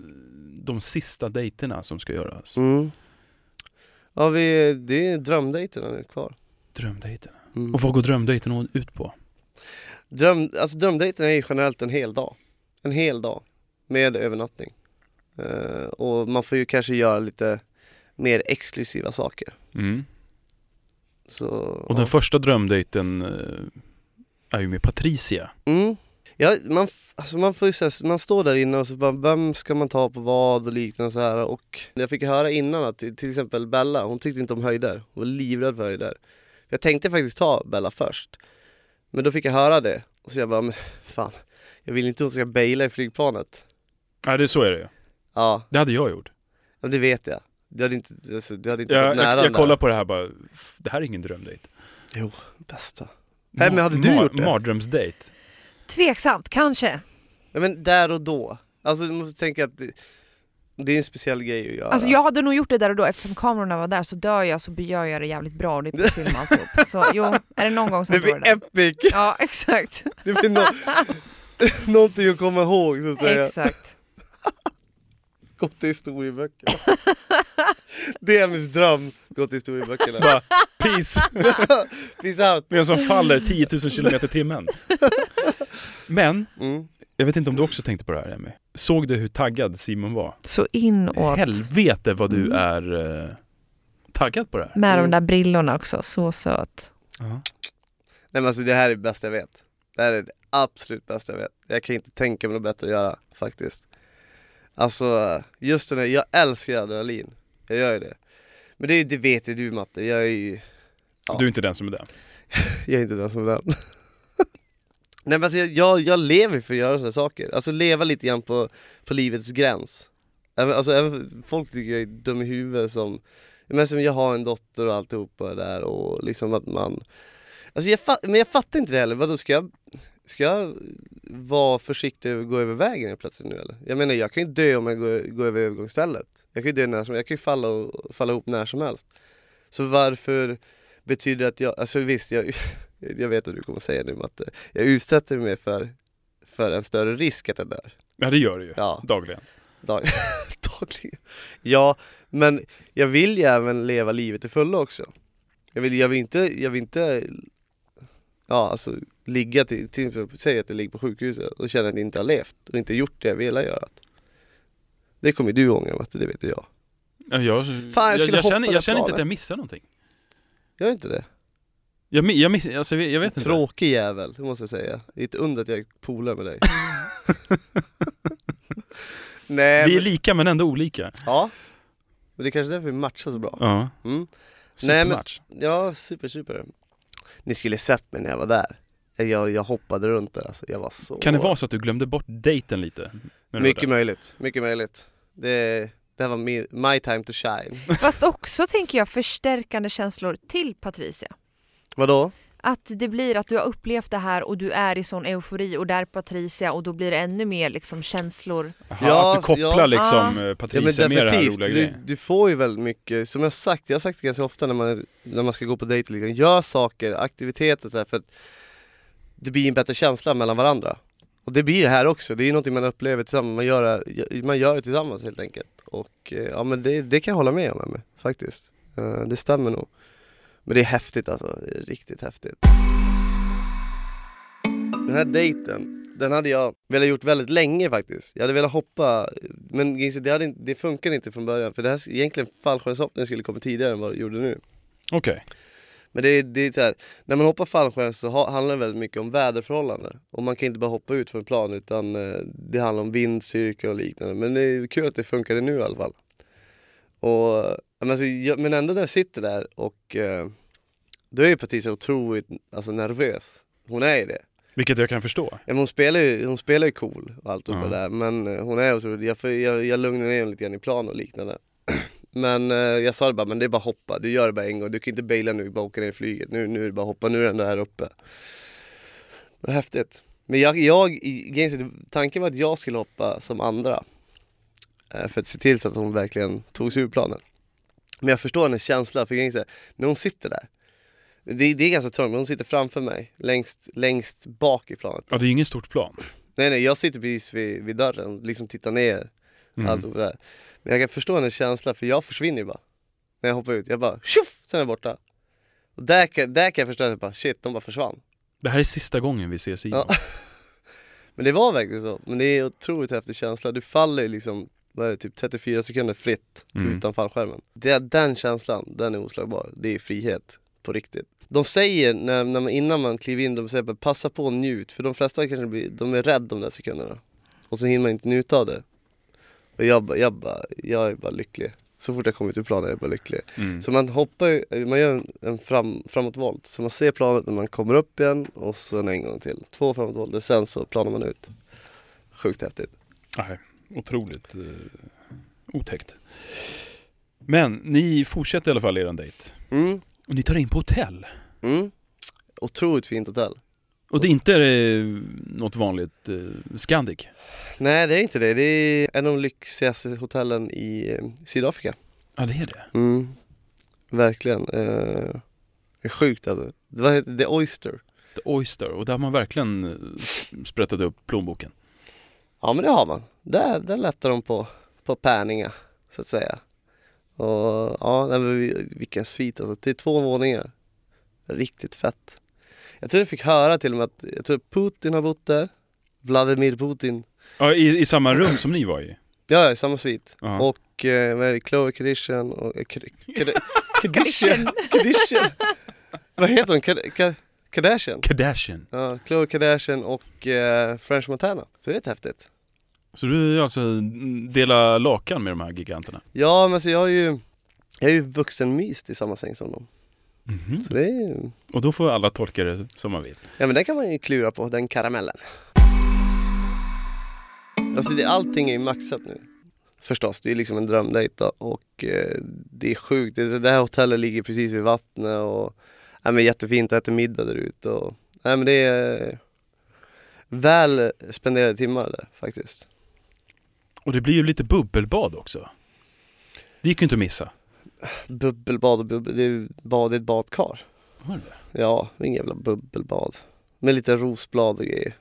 [SPEAKER 3] de sista dejterna som ska göras.
[SPEAKER 2] Mm. Ja, vi, det är drömdejterna nu kvar.
[SPEAKER 3] Drömdejterna.
[SPEAKER 2] Mm.
[SPEAKER 3] Och vad går drömdejten ut på?
[SPEAKER 2] Dröm, alltså drömdejten är ju generellt en hel dag. En hel dag med övernattning. Eh, och man får ju kanske göra lite mer exklusiva saker.
[SPEAKER 3] Mm.
[SPEAKER 2] Så,
[SPEAKER 3] Och den första drömdejten eh, är ju med Patricia.
[SPEAKER 2] mm. ja, man, f- alltså man, får ju, så här- man står där inne och så bara, vem ska man ta på vad och liknande och så här. Och jag fick höra innan att till till exempel Bella, hon tyckte inte om höjder. Hon var livrädd för höjder. Jag tänkte faktiskt ta Bella först. Men då fick jag höra det. Och så jag bara, men fan, jag vill inte att hon ska baila i flygplanet.
[SPEAKER 3] Nej, det så är det ju.
[SPEAKER 2] Ja,
[SPEAKER 3] Det hade jag gjort.
[SPEAKER 2] Ja det vet jag. Du hade inte, alltså, du hade inte
[SPEAKER 3] Jag,
[SPEAKER 2] varit nära
[SPEAKER 3] jag, jag
[SPEAKER 2] den där.
[SPEAKER 3] kollar på det här bara, "F- det här är ingen drömdejt.
[SPEAKER 2] Bästa. Nej, men hade du
[SPEAKER 3] Mar-
[SPEAKER 2] gjort det?
[SPEAKER 3] Mardrömsdejt.
[SPEAKER 1] Tveksamt, kanske.
[SPEAKER 2] Ja, men där och då. Alltså du måste tänka att det, det är en speciell grej att göra.
[SPEAKER 1] Alltså jag hade nog gjort det där och då eftersom kamerorna var där så dör jag så gör jag det jävligt bra och det är på film och alltihop. Så jo, är det någon gång som
[SPEAKER 2] det
[SPEAKER 1] jag gör
[SPEAKER 2] blir
[SPEAKER 1] det? där?
[SPEAKER 2] epic!
[SPEAKER 1] Ja, exakt.
[SPEAKER 2] Det blir no någonting att komma ihåg så att säga.
[SPEAKER 1] exakt.
[SPEAKER 2] Gå till historieböckerna. det är min dröm, gå till historieböckerna.
[SPEAKER 3] Bara, peace!
[SPEAKER 2] Peace out!
[SPEAKER 3] Med en som faller 10 000 kilometer i timmen. Men,
[SPEAKER 2] Mm.
[SPEAKER 3] jag vet inte om du också tänkte på det här Emmy. Såg du hur taggad Simon var?
[SPEAKER 1] Så inåt.
[SPEAKER 3] Helvete vad du
[SPEAKER 1] Mm.
[SPEAKER 3] är eh, taggad på det här.
[SPEAKER 1] Med de
[SPEAKER 2] Mm.
[SPEAKER 1] där brillorna också, så söt.
[SPEAKER 2] Nej men alltså det här är det bästa jag vet. Det här är det absolut bästa jag vet. Jag kan inte tänka mig något bättre att göra faktiskt. Alltså just den här, jag älskar adrenalin. Jag gör ju det. Men det, är- det vet ju du Matte, jag är ju, Ja.
[SPEAKER 3] Du är inte den som är det.
[SPEAKER 2] jag är inte den som är den. Nej men alltså jag, jag, jag lever för att göra sådana saker. Alltså leva lite grann på, på livets gräns. Även- Alltså även, folk tycker jag är dum i huvudet som, men som jag har en dotter och alltihopa där och liksom att man Alltså jag fa- men jag fattar inte det heller, vadå ska jag, ska jag vara försiktig och gå över vägen helt plötsligt nu eller? Jag menar jag kan ju dö om jag går, går över övergångsstället. Jag kan ju dö när som jag kan ju falla, och, falla ihop när som helst. Så varför betyder det att jag, alltså visst jag, jag vet vad du kommer säga nu att eh, jag utsätter mig för, för en större risk att jag dör.
[SPEAKER 3] Ja det gör du ju.
[SPEAKER 2] Ja.
[SPEAKER 3] Dagligen.
[SPEAKER 2] Dag- dagligen. Ja, men jag vill ju även leva livet till fullo också. Jag vill, jag vill inte, jag vill inte, ja alltså ligga till, till exempel, säg att jag ligger på sjukhuset och känner att jag inte har levt och inte gjort det jag ville göra. Det kommer ju du ångra Matte, det vet jag.
[SPEAKER 3] Ja, Jag,
[SPEAKER 2] Fan, jag
[SPEAKER 3] jag,
[SPEAKER 2] skulle
[SPEAKER 3] jag,
[SPEAKER 2] hoppa
[SPEAKER 3] känner,
[SPEAKER 2] det
[SPEAKER 3] jag känner inte att
[SPEAKER 2] planet.
[SPEAKER 3] jag missar någonting.
[SPEAKER 2] Gör inte det?
[SPEAKER 3] Jag, mi- jag, miss, alltså, jag vet inte.
[SPEAKER 2] Tråkig jävel, det måste jag säga. Det är ett under att jag är polare med dig. Nej,
[SPEAKER 3] Vi är
[SPEAKER 2] men-
[SPEAKER 3] lika men ändå olika.
[SPEAKER 2] Ja. Men det är kanske därför vi matchar så bra.
[SPEAKER 3] Ja.
[SPEAKER 2] Mm. Nej, men-
[SPEAKER 3] Supermatch.
[SPEAKER 2] Ja, super, super. Ni skulle sett mig när jag var där. Jag, jag hoppade runt där alltså. Jag var så...
[SPEAKER 3] Kan det vara så att du glömde bort dejten lite? när du var
[SPEAKER 2] Mycket
[SPEAKER 3] där?
[SPEAKER 2] möjligt, mycket möjligt. Det, det här var mi- my time to shine.
[SPEAKER 1] Fast också tänker jag förstärkande känslor till Patricia.
[SPEAKER 2] Vadå?
[SPEAKER 1] Att det blir att du har upplevt det här och du är i sån eufori och där Patricia och då blir det ännu mer liksom känslor.
[SPEAKER 3] Aha,
[SPEAKER 2] Ja,
[SPEAKER 3] att du kopplar
[SPEAKER 2] ja.
[SPEAKER 3] liksom
[SPEAKER 1] Ja.
[SPEAKER 3] eh,
[SPEAKER 2] Ja men
[SPEAKER 3] Patricia med det här
[SPEAKER 2] definitivt,
[SPEAKER 3] roliga
[SPEAKER 2] du,
[SPEAKER 3] grejen.
[SPEAKER 2] du får ju väldigt mycket, som jag har sagt, jag har sagt det ganska ofta när man, när man ska gå på dejt, liksom, gör saker, aktiviteter och så här, för att det blir en bättre känsla mellan varandra. Och det blir det här också, det är ju någonting man upplever tillsammans, man gör det, man gör det tillsammans helt enkelt. Och eh, ja men det, det kan jag hålla med om Emmy, faktiskt. Eh, Det stämmer nog. Men det är häftigt alltså, Det är riktigt häftigt. Den här dejten, den hade jag velat gjort väldigt länge faktiskt. Jag hade velat hoppa, men Ginse, det, hade, inte- det funkade inte från början. För det här, egentligen fallskärmshoppningen skulle komma tidigare än vad det gjorde nu.
[SPEAKER 3] Okej.
[SPEAKER 2] Men det, är- det är så här, när man hoppar fallskärm så ha, handlar det väldigt mycket om väderförhållanden. Och man kan inte bara hoppa ut från en plan utan eh, det handlar om vindstyrka och liknande. Men det är kul att det funkade nu i alla fall. Och, ja, men, alltså, jag, men ändå när jag sitter där och eh, då är ju Patricia otroligt alltså, nervös. Hon är ju det.
[SPEAKER 3] Vilket jag kan förstå.
[SPEAKER 2] Ja, men hon spelar ju, hon spelar ju cool och allt
[SPEAKER 3] Ja.
[SPEAKER 2] det där men eh, hon är otroligt, jag, får- jag, jag lugnar ner henne lite grann i plan och liknande. Men eh, jag sa det bara, men det är bara hoppa, du gör det bara en gång, du kan inte baila nu, bara åka ner i flyget, nu, nu är det bara hoppa, nu är den där uppe. Men häftigt. Men jag, jag i- grejen är att tanken var att jag skulle hoppa som andra. Eh, För att se till så att hon verkligen tog sig ur planen. Men jag förstår hennes känsla, för grejen är så här, när hon sitter där, det, det är ganska trångt, men hon sitter framför mig, längst, längst bak i planet.
[SPEAKER 3] Ja, det är ju ingen stort plan.
[SPEAKER 2] Nej nej, jag sitter precis vid, vid dörren och liksom tittar ner.
[SPEAKER 3] Mm.
[SPEAKER 2] Allt och det där. Men jag kan förstå hennes känsla för jag försvinner ju bara. När jag hoppar ut, jag bara tjoff, sen är jag borta. Och där kan, där kan jag förstå att jag bara shit, de bara försvann.
[SPEAKER 3] Det här är sista gången vi ses igen.
[SPEAKER 2] Ja. Men det var verkligen så. Men det är otroligt häftig känsla. Du faller ju liksom, vad är det, typ 34 sekunder fritt
[SPEAKER 3] Mm.
[SPEAKER 2] utan fallskärmen. Det, den känslan, den är oslagbar. Det är frihet på riktigt. De säger, när, när man, innan man kliver in, de säger bara passa på och njut. För de flesta kanske blir, de är rädda de där sekunderna. Och så hinner man inte njuta av det. Och jag, bara- jag, bara, jag är bara lycklig. Så fort jag kommit ur planen är jag bara lycklig.
[SPEAKER 3] Mm.
[SPEAKER 2] Så man hoppar ju, man gör en, en fram, framåtvolt. Så man ser planet när man kommer upp igen och sen en gång till. Två framåtvolter, sen så planar man ut. Sjukt häftigt.
[SPEAKER 3] Nej, otroligt eh, otäckt. Men ni fortsätter i alla fall er dejt.
[SPEAKER 2] Mm,
[SPEAKER 3] Och ni tar in på hotell.
[SPEAKER 2] mm. Otroligt fint hotell.
[SPEAKER 3] Och det är inte eh, något vanligt eh, Scandic.
[SPEAKER 2] Nej det är inte det, det är en av de lyxigaste hotellen i eh, Sydafrika.
[SPEAKER 3] Ja, det är det.
[SPEAKER 2] Mm. Verkligen. Eh, det är sjukt alltså. Det var The Oyster.
[SPEAKER 3] The Oyster. Och där har man verkligen eh, sprättat upp plånboken.
[SPEAKER 2] Ja men det har man. Där, där lättar de på, på pärningar så att säga. Och ja, nej, men vi- vilken svit alltså. Det är två våningar. Riktigt fett. Jag tror jag fick höra till och med att jag tror Putin har bott där. Vladimir Putin.
[SPEAKER 3] Ja, i, i samma rum som ni var i.
[SPEAKER 2] Ja, i samma svit.
[SPEAKER 3] Ja.
[SPEAKER 2] Och eh, vad är det? Khloe Kardashian och... Eh, Kar- Kar- Kardashian? Kardashian? Vad heter hon? Kar- Kar- Kardashian?
[SPEAKER 3] Kardashian.
[SPEAKER 2] Ja, Khloe Kardashian och eh, French Montana. Så det är rätt häftigt.
[SPEAKER 3] Så du är alltså dela lakan med de här giganterna?
[SPEAKER 2] Ja men så jag har ju, jag är ju vuxenmyst i samma säng som dem.
[SPEAKER 3] Mhm.
[SPEAKER 2] Så det är ju,
[SPEAKER 3] Och då får alla tolka det som man vill.
[SPEAKER 2] ja men den kan man ju klura på, den karamellen. Alltså det, allting är ju maxat nu. Förstås, det är liksom en drömdejt då. och eh, det är sjukt. Det, det här hotellet ligger precis vid vattnet och ja, men jättefint, jag äter middag där ute och ja, men det är eh, väl spenderade timmar där faktiskt.
[SPEAKER 3] Och det blir ju lite bubbelbad också. Det gick ju inte att missa.
[SPEAKER 2] Bubbelbad och bubbel, det är ju bad i ett badkar.
[SPEAKER 3] Var det?
[SPEAKER 2] Ja, inga jävla bubbelbad. Med lite rosblad och grejer.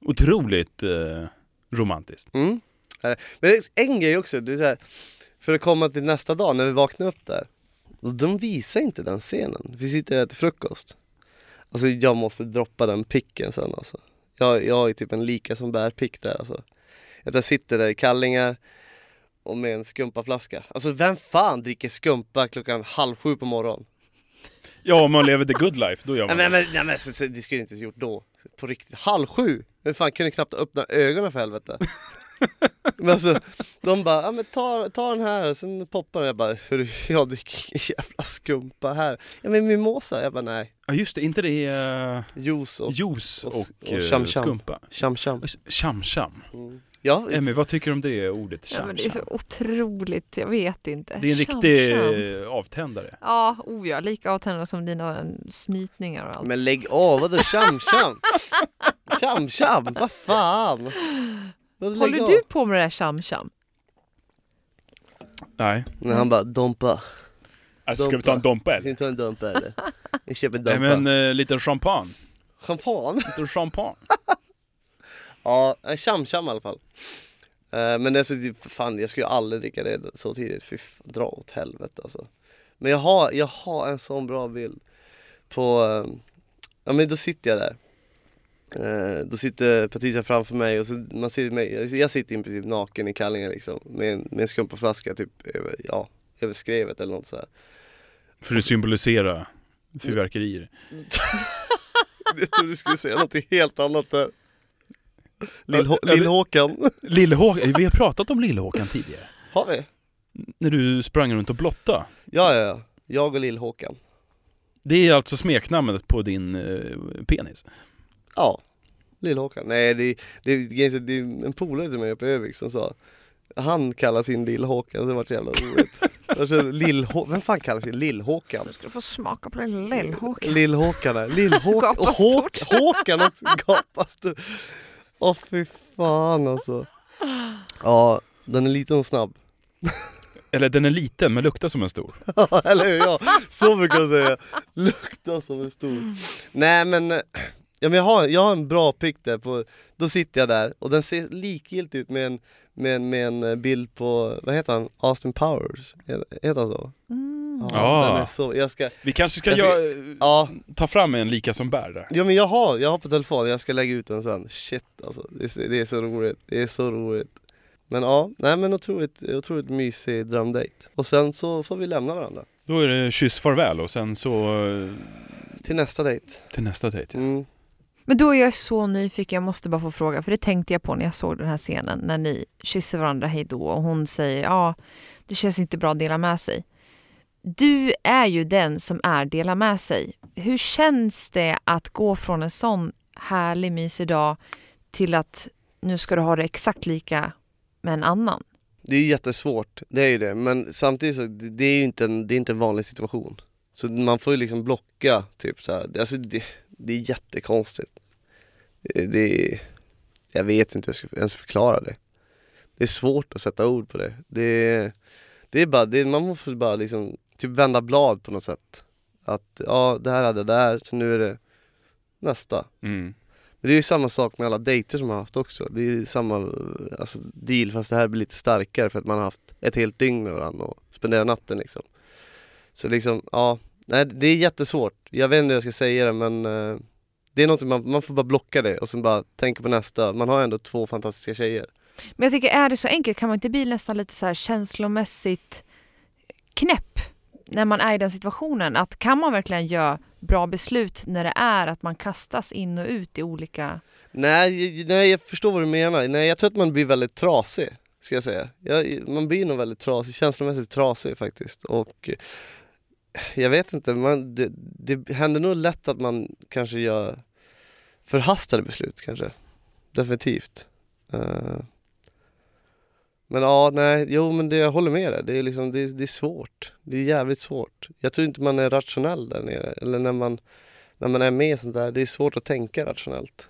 [SPEAKER 3] Otroligt eh, romantiskt.
[SPEAKER 2] Mm. Men det är en grej också, det är så här, för att komma till nästa dag när vi vaknar upp där. Och de visar inte den scenen. Vi sitter och äter frukost. Alltså jag måste droppa den picken sen alltså. Jag, jag är typ en lika som bär pick där alltså. Att jag sitter där i kallingar och med en skumpaflaska. Alltså vem fan dricker skumpa klockan halv sju på morgonen?
[SPEAKER 3] Ja, om man lever the good life, då gör
[SPEAKER 2] Nej
[SPEAKER 3] man
[SPEAKER 2] men,
[SPEAKER 3] det.
[SPEAKER 2] nej, men, nej, men så, så, det skulle jag inte ha gjort då. På riktigt. Halv sju! Men fan kunde knappt öppna ögonen för helvete. men alltså, de bara, ja men ta, ta den här, sen poppar den. Jag bara, hur jag dricker jävla skumpa här. Ja men mimosa, jag bara nej.
[SPEAKER 3] Ja, just det. Inte det är...
[SPEAKER 2] Juice och
[SPEAKER 3] juice och,
[SPEAKER 2] och- och
[SPEAKER 3] eh,
[SPEAKER 2] cham-cham.
[SPEAKER 3] skumpa.
[SPEAKER 2] cham cham.
[SPEAKER 3] Cham-cham.
[SPEAKER 2] Mm. Ja,
[SPEAKER 3] Emmy, vad tycker du om det ordet? Tjam,
[SPEAKER 1] Ja, men det är
[SPEAKER 3] tjam?
[SPEAKER 1] så otroligt, jag vet inte.
[SPEAKER 3] det är en
[SPEAKER 1] Tjam,
[SPEAKER 3] riktig
[SPEAKER 1] tjam.
[SPEAKER 3] eh, avtändare.
[SPEAKER 1] Ja, oh ja, lika avtändande som dina snytningar och allt.
[SPEAKER 2] men lägg av, vadå tjam-tjam? Tjam-tjam, vad fan? Vadå, lägg
[SPEAKER 1] Håller
[SPEAKER 2] av?
[SPEAKER 1] du på med det här tjam-tjam?
[SPEAKER 3] Nej.
[SPEAKER 2] Men han bara, Dompa,
[SPEAKER 3] Alltså,
[SPEAKER 2] ska vi ta en
[SPEAKER 3] dompa
[SPEAKER 2] ska ni ta en Dompa eller? Jag köper en
[SPEAKER 3] Nej
[SPEAKER 2] Dompa.
[SPEAKER 3] men eh, lite champagne.
[SPEAKER 2] Champagne?
[SPEAKER 3] Lite champagne.
[SPEAKER 2] Ja, en tjam-tjam i alla fall. Eh, Men alltså, det- fan jag skulle ju aldrig dricka det så tidigt, fy fan, dra åt helvete alltså. Men jag har, jag har en sån bra bild på, eh, ja men då sitter jag där. Eh, Då sitter Patricia framför mig och så man ser mig, jag sitter i princip naken i kallingar liksom med en, med en skumpaflaska typ över, ja, över skrevet eller något sådär.
[SPEAKER 3] För att symbolisera fyrverkerier.
[SPEAKER 2] Jag trodde du skulle säga något helt annat där.
[SPEAKER 3] Ja, ja, det-
[SPEAKER 2] Lill-Håkan.
[SPEAKER 3] Lillehåkan, eh, vi har pratat om Lillehåkan tidigare.
[SPEAKER 2] har vi?
[SPEAKER 3] När du sprang runt och blotta.
[SPEAKER 2] Ja, ja, ja. Jag och Lill-Håkan.
[SPEAKER 3] Det är alltså smeknamnet på din eh, penis.
[SPEAKER 2] Ja, Lill-Håkan. Nej, det, det, det, det är en polare till mig uppe i Övik som sa han kallar sin Lill-Håkan, det var så jävla roligt. Alltså, Lill Vem fan kallar sin Lill-Håkan?
[SPEAKER 5] Du ska få smaka på den lillhåkan.
[SPEAKER 2] Lill-Håkan är- Lill-Håkan och
[SPEAKER 5] Gapar
[SPEAKER 2] Håk,
[SPEAKER 5] stort.
[SPEAKER 2] Håkan också, gapar stort. Åh fy fan alltså. Ja, den är liten och snabb.
[SPEAKER 3] Eller den är liten men luktar som en stor.
[SPEAKER 2] Ja, eller hur? Ja, så brukar jag säga. Luktar som en stor. Nej men, eh, ja, men jag, har, jag har en bra pick där på, då sitter jag där och den ser likgiltig ut med en, med en, med en eh, bild på, vad heter han, Austin Powers? Heter heter han så?
[SPEAKER 3] Ah.
[SPEAKER 2] den är så, jag ska,
[SPEAKER 3] Vi kanske ska
[SPEAKER 2] Jag
[SPEAKER 3] jag,
[SPEAKER 2] ja,
[SPEAKER 3] ta fram en lika som bär där.
[SPEAKER 2] ja men jag har, jag har på telefon, jag ska lägga ut den sen. Shit alltså, det är, så- det är så roligt, det är så roligt. Men ja, nej men otroligt, otroligt mysig drömdate. Och sen så får vi lämna varandra.
[SPEAKER 3] Då är det kyss farväl och sen så eh,
[SPEAKER 2] Till nästa dejt.
[SPEAKER 3] till nästa dejt. ja.
[SPEAKER 2] Mm.
[SPEAKER 1] Men då är jag så nyfiken, jag måste bara få fråga, för det tänkte jag på när jag såg den här scenen, när ni kysser varandra hej då och hon säger ja, det känns inte bra att dela med sig. Du är ju den som är dela med sig. Hur känns det att gå från en sån härlig mysig dag till att nu ska du ha det exakt lika med en annan?
[SPEAKER 2] Det är jättesvårt, det är ju det. Men samtidigt så, det det är ju inte en, det är inte en vanlig situation. Så man får ju liksom blocka, typ så här. Det- Alltså det, det är jättekonstigt. Det- Det är, jag vet inte hur jag ska ens förklara det. Det är svårt att sätta ord på det. Det, är- det är bara, det, är- man måste bara liksom, typ vända blad på något sätt. Att ja, det här hade jag där, så nu är det nästa.
[SPEAKER 3] Mm.
[SPEAKER 2] Men det är ju samma sak med alla dejter som man har haft också. Det är ju samma alltså, deal fast det här blir lite starkare för att man har haft ett helt dygn med varandra och spenderat natten liksom. Så liksom, ja. Nej, det är jättesvårt. Jag vet inte hur jag ska säga det men eh, det är något man, man får bara blocka det och sen bara tänka på nästa. Man har ändå två fantastiska tjejer.
[SPEAKER 1] Men jag tycker, är det så enkelt? Kan man inte bli nästan lite så här känslomässigt knäpp när man är i den situationen? Att kan man verkligen göra bra beslut när det är att man kastas in och ut i olika...
[SPEAKER 2] Nej, jag- nej jag förstår vad du menar. Nej, jag tror att man blir väldigt trasig, ska jag säga. Jag, man blir nog väldigt trasig, känslomässigt trasig faktiskt. Och eh, jag vet inte, man, det, det händer nog lätt att man kanske gör förhastade beslut kanske. Definitivt. Eh, men ja, nej, jo men det, jag håller med dig. Det är, liksom, det, är- det är svårt. Det är jävligt svårt. Jag tror inte man är rationell där nere. Eller när man, när man är med i sånt där, det är svårt att tänka rationellt.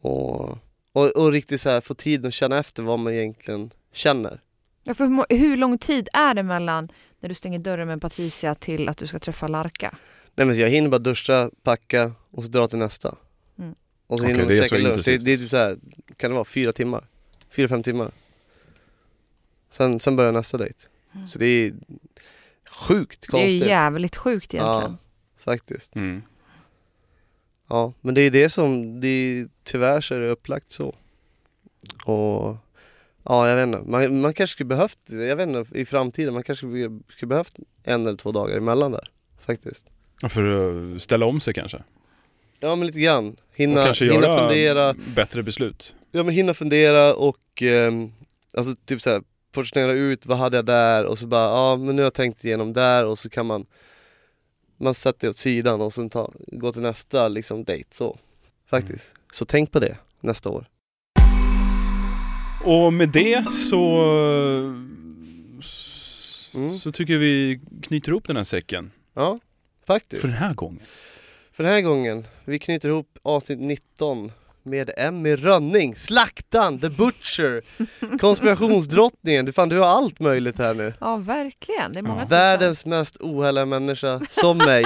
[SPEAKER 2] Och, och, och riktigt så här, få tid att känna efter vad man egentligen känner.
[SPEAKER 1] Ja, för hur må- hur lång tid är det mellan när du stänger dörren med Patricia till att du ska träffa Larka?
[SPEAKER 2] Nej men så jag hinner bara duscha, packa och så dra till nästa.
[SPEAKER 1] Mm.
[SPEAKER 2] Och så
[SPEAKER 3] Okej,
[SPEAKER 2] hinner
[SPEAKER 3] det är
[SPEAKER 2] man
[SPEAKER 3] så
[SPEAKER 2] käka lunch. Det,
[SPEAKER 3] intensivt.
[SPEAKER 2] det är typ så här, kan det vara fyra timmar? Fyra, fem timmar. Sen, sen börjar nästa dejt. Så det är sjukt konstigt.
[SPEAKER 1] Mm. Det är jävligt sjukt egentligen.
[SPEAKER 2] faktiskt.
[SPEAKER 3] Mm.
[SPEAKER 2] Ja, men det är det som, det är, tyvärr så är det upplagt så. Och ja, jag vet inte. Man, man kanske skulle behövt, jag vet inte, i framtiden, man kanske skulle, skulle behövt en eller två dagar emellan där. Faktiskt.
[SPEAKER 3] Ja, För att ställa om sig kanske.
[SPEAKER 2] Ja, men lite grann.
[SPEAKER 3] Och
[SPEAKER 2] Hinna,
[SPEAKER 3] kanske
[SPEAKER 2] hinna
[SPEAKER 3] göra
[SPEAKER 2] fundera.
[SPEAKER 3] bättre beslut.
[SPEAKER 2] Ja, men hinna fundera och ehm, alltså typ så här, portionera ut vad hade jag där och så bara, ja men nu har jag tänkt igenom där och så kan man man sätter det åt sidan och sen ta, gå till nästa liksom dejt så. Faktiskt. Så tänk på det nästa år.
[SPEAKER 3] Och med det så...
[SPEAKER 2] Mm.
[SPEAKER 3] Så tycker jag vi knyter ihop den här säcken.
[SPEAKER 2] Ja, faktiskt.
[SPEAKER 3] För den här gången.
[SPEAKER 2] För den här gången, vi knyter ihop avsnitt 19 med Emmy Rönning, Slaktan, The Butcher, Konspirationsdrottningen. Du, fan, du har allt möjligt här nu.
[SPEAKER 6] Ja, verkligen. Det är många
[SPEAKER 2] Världens mest ohärliga människa, som mig.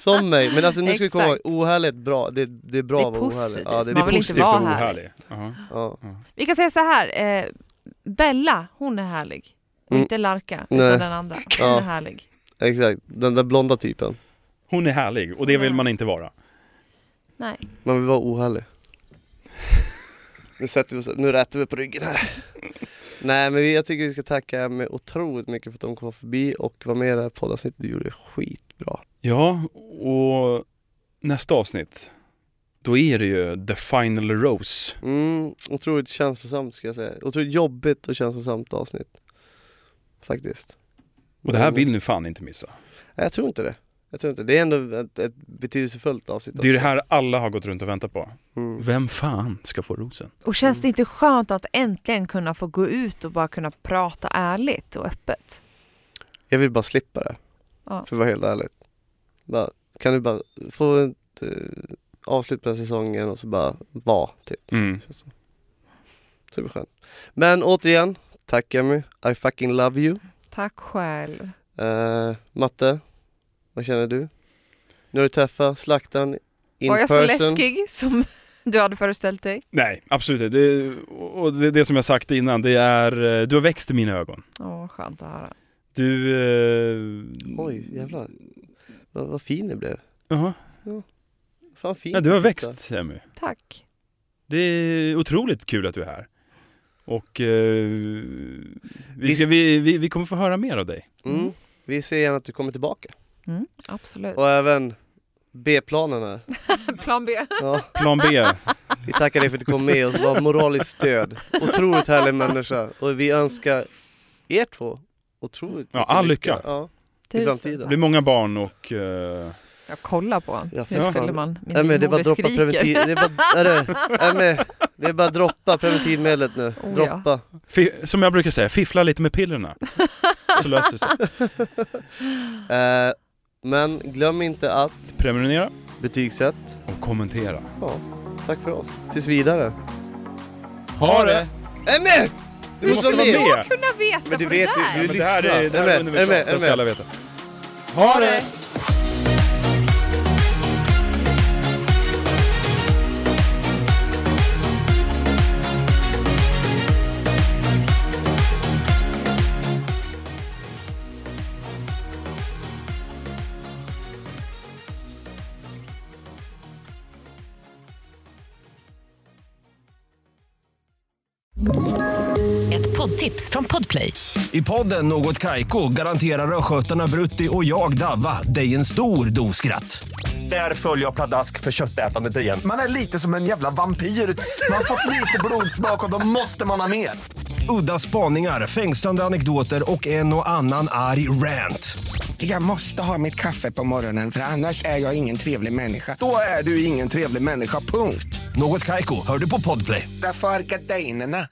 [SPEAKER 2] Som mig. Men alltså nu ska vi komma ihåg,
[SPEAKER 6] Exakt.
[SPEAKER 2] ohärligt bra, det, det är bra
[SPEAKER 6] Det är
[SPEAKER 2] att vara ohärlig.
[SPEAKER 6] positivt.
[SPEAKER 2] Ja, det är
[SPEAKER 3] Det är
[SPEAKER 6] Man vill inte
[SPEAKER 3] positivt och
[SPEAKER 6] vara här.
[SPEAKER 3] ohärlig. Jaha.
[SPEAKER 2] Ja.
[SPEAKER 6] Vi kan säga så här. Eh, Bella, hon är härlig. Och
[SPEAKER 2] Mm.
[SPEAKER 6] Inte Larka,
[SPEAKER 2] Nej.
[SPEAKER 6] utan den andra. Hon
[SPEAKER 2] Ja.
[SPEAKER 6] är härlig.
[SPEAKER 2] Exakt, den där blonda typen.
[SPEAKER 3] Hon är härlig och det vill man inte vara.
[SPEAKER 6] Nej.
[SPEAKER 2] Man vill vara ohärlig. Nu sätter vi oss, nu rätar vi på ryggen här. Nej men vi- jag tycker vi ska tacka Emmy otroligt mycket för att de kom förbi och var med i det här poddavsnittet. Du gjorde det skitbra.
[SPEAKER 3] Ja, och nästa avsnitt. Då är det ju The Final Rose.
[SPEAKER 2] Mm, otroligt känslosamt ska jag säga. Otroligt jobbigt och känslosamt avsnitt. Faktiskt.
[SPEAKER 3] Och det här
[SPEAKER 2] Men-
[SPEAKER 3] vill ni fan inte missa.
[SPEAKER 2] Nej, jag tror inte det. Jag tror inte det. Det är ändå ett, ett betydelsefullt avsnitt.
[SPEAKER 3] Det är det
[SPEAKER 2] också.
[SPEAKER 3] här alla har gått runt och väntat på.
[SPEAKER 2] Mm.
[SPEAKER 3] Vem fan ska få rosen?
[SPEAKER 6] Och känns det inte skönt att äntligen kunna få gå ut och bara kunna prata ärligt och öppet?
[SPEAKER 2] Jag vill bara slippa det.
[SPEAKER 6] Ja.
[SPEAKER 2] För att vara helt ärligt. Bara, kan du bara få ett eh, avslut på den här säsongen och så bara vara typ.
[SPEAKER 3] Mm.
[SPEAKER 2] Så det blir skönt. Men återigen, tack Emmy. I fucking love you.
[SPEAKER 6] Tack själv.
[SPEAKER 2] Eh, Matte, vad känner du? Nu har du träffat slaktan in
[SPEAKER 6] Var jag
[SPEAKER 2] person.
[SPEAKER 6] så läskig som du hade föreställt dig?
[SPEAKER 3] Nej, absolut inte. Det, och det, det som jag sagt innan, det är... eh, Du har växt i mina ögon.
[SPEAKER 6] Åh, vad skönt att höra.
[SPEAKER 3] Du... Eh,
[SPEAKER 2] Oj, jävlar. Vad, vad fin du blev.
[SPEAKER 3] Jaha.
[SPEAKER 2] Fan fin
[SPEAKER 3] Ja, du har
[SPEAKER 2] titta.
[SPEAKER 3] växt, Emmy.
[SPEAKER 6] Tack.
[SPEAKER 3] Det är otroligt kul att du är här. Och eh, vi,
[SPEAKER 2] Vi-
[SPEAKER 3] ska, vi, vi, vi kommer få höra mer av dig.
[SPEAKER 2] Mm. Vi ser gärna att du kommer tillbaka.
[SPEAKER 6] Mm, absolut.
[SPEAKER 2] Och även B-planen här.
[SPEAKER 6] Plan B.
[SPEAKER 2] Ja,
[SPEAKER 3] Plan B.
[SPEAKER 2] vi tackar dig för att du kom med och var moraliskt stöd. Otroligt härlig människa. Och vi önskar er två otroligt
[SPEAKER 3] Ja,
[SPEAKER 2] mycket
[SPEAKER 3] all lycka.
[SPEAKER 2] Ja.
[SPEAKER 6] Tusen
[SPEAKER 2] framtiden.
[SPEAKER 3] Det
[SPEAKER 6] tack.
[SPEAKER 3] blir många barn och... eh,
[SPEAKER 6] Jag kollar på honom.
[SPEAKER 2] Ja, för
[SPEAKER 6] Hur
[SPEAKER 2] fan.
[SPEAKER 6] ställer man min
[SPEAKER 2] Nej, men det är bara
[SPEAKER 6] moder
[SPEAKER 2] droppa
[SPEAKER 6] skriker.
[SPEAKER 2] preventiv... Det är bara, är det, nej, men, det är bara droppa preventivmedlet nu.
[SPEAKER 6] Oh, ja.
[SPEAKER 2] Droppa.
[SPEAKER 3] fi- som jag brukar säga, fiffla lite med pillerna. Så löser det sig.
[SPEAKER 2] Eh, men glöm inte att
[SPEAKER 3] Prenumerera
[SPEAKER 2] betygsätt.
[SPEAKER 3] och kommentera.
[SPEAKER 2] Ja, tack för oss. Tills vidare.
[SPEAKER 3] Ha det!
[SPEAKER 2] Emmy! Du måste vara med!
[SPEAKER 6] kunna veta
[SPEAKER 2] Men du
[SPEAKER 6] på
[SPEAKER 2] vet
[SPEAKER 6] det där.
[SPEAKER 2] ju, du
[SPEAKER 3] Men det här
[SPEAKER 2] lyssnar.
[SPEAKER 3] är, det här
[SPEAKER 2] Är
[SPEAKER 3] är
[SPEAKER 2] du med? Är du med?
[SPEAKER 3] underbart,
[SPEAKER 2] Är du
[SPEAKER 3] det ska alla
[SPEAKER 2] med?
[SPEAKER 3] veta. Ha det!
[SPEAKER 4] Ett poddtips från Podplay.
[SPEAKER 7] I podden Något Kaiko garanterar östgötarna Brutti och jag, Davva, dig en stor dos skratt. Där följer jag pladask för köttätandet igen.
[SPEAKER 8] Man är lite som en jävla vampyr. Man har fått lite blodsmak och då måste man ha mer.
[SPEAKER 7] Udda spaningar, fängslande anekdoter och en och annan arg rant.
[SPEAKER 8] Jag måste ha mitt kaffe på morgonen för annars är jag ingen trevlig människa. Då är du ingen trevlig människa, punkt.
[SPEAKER 7] Något Kaiko, hör du på Podplay.
[SPEAKER 8] Därför arkadeinerna.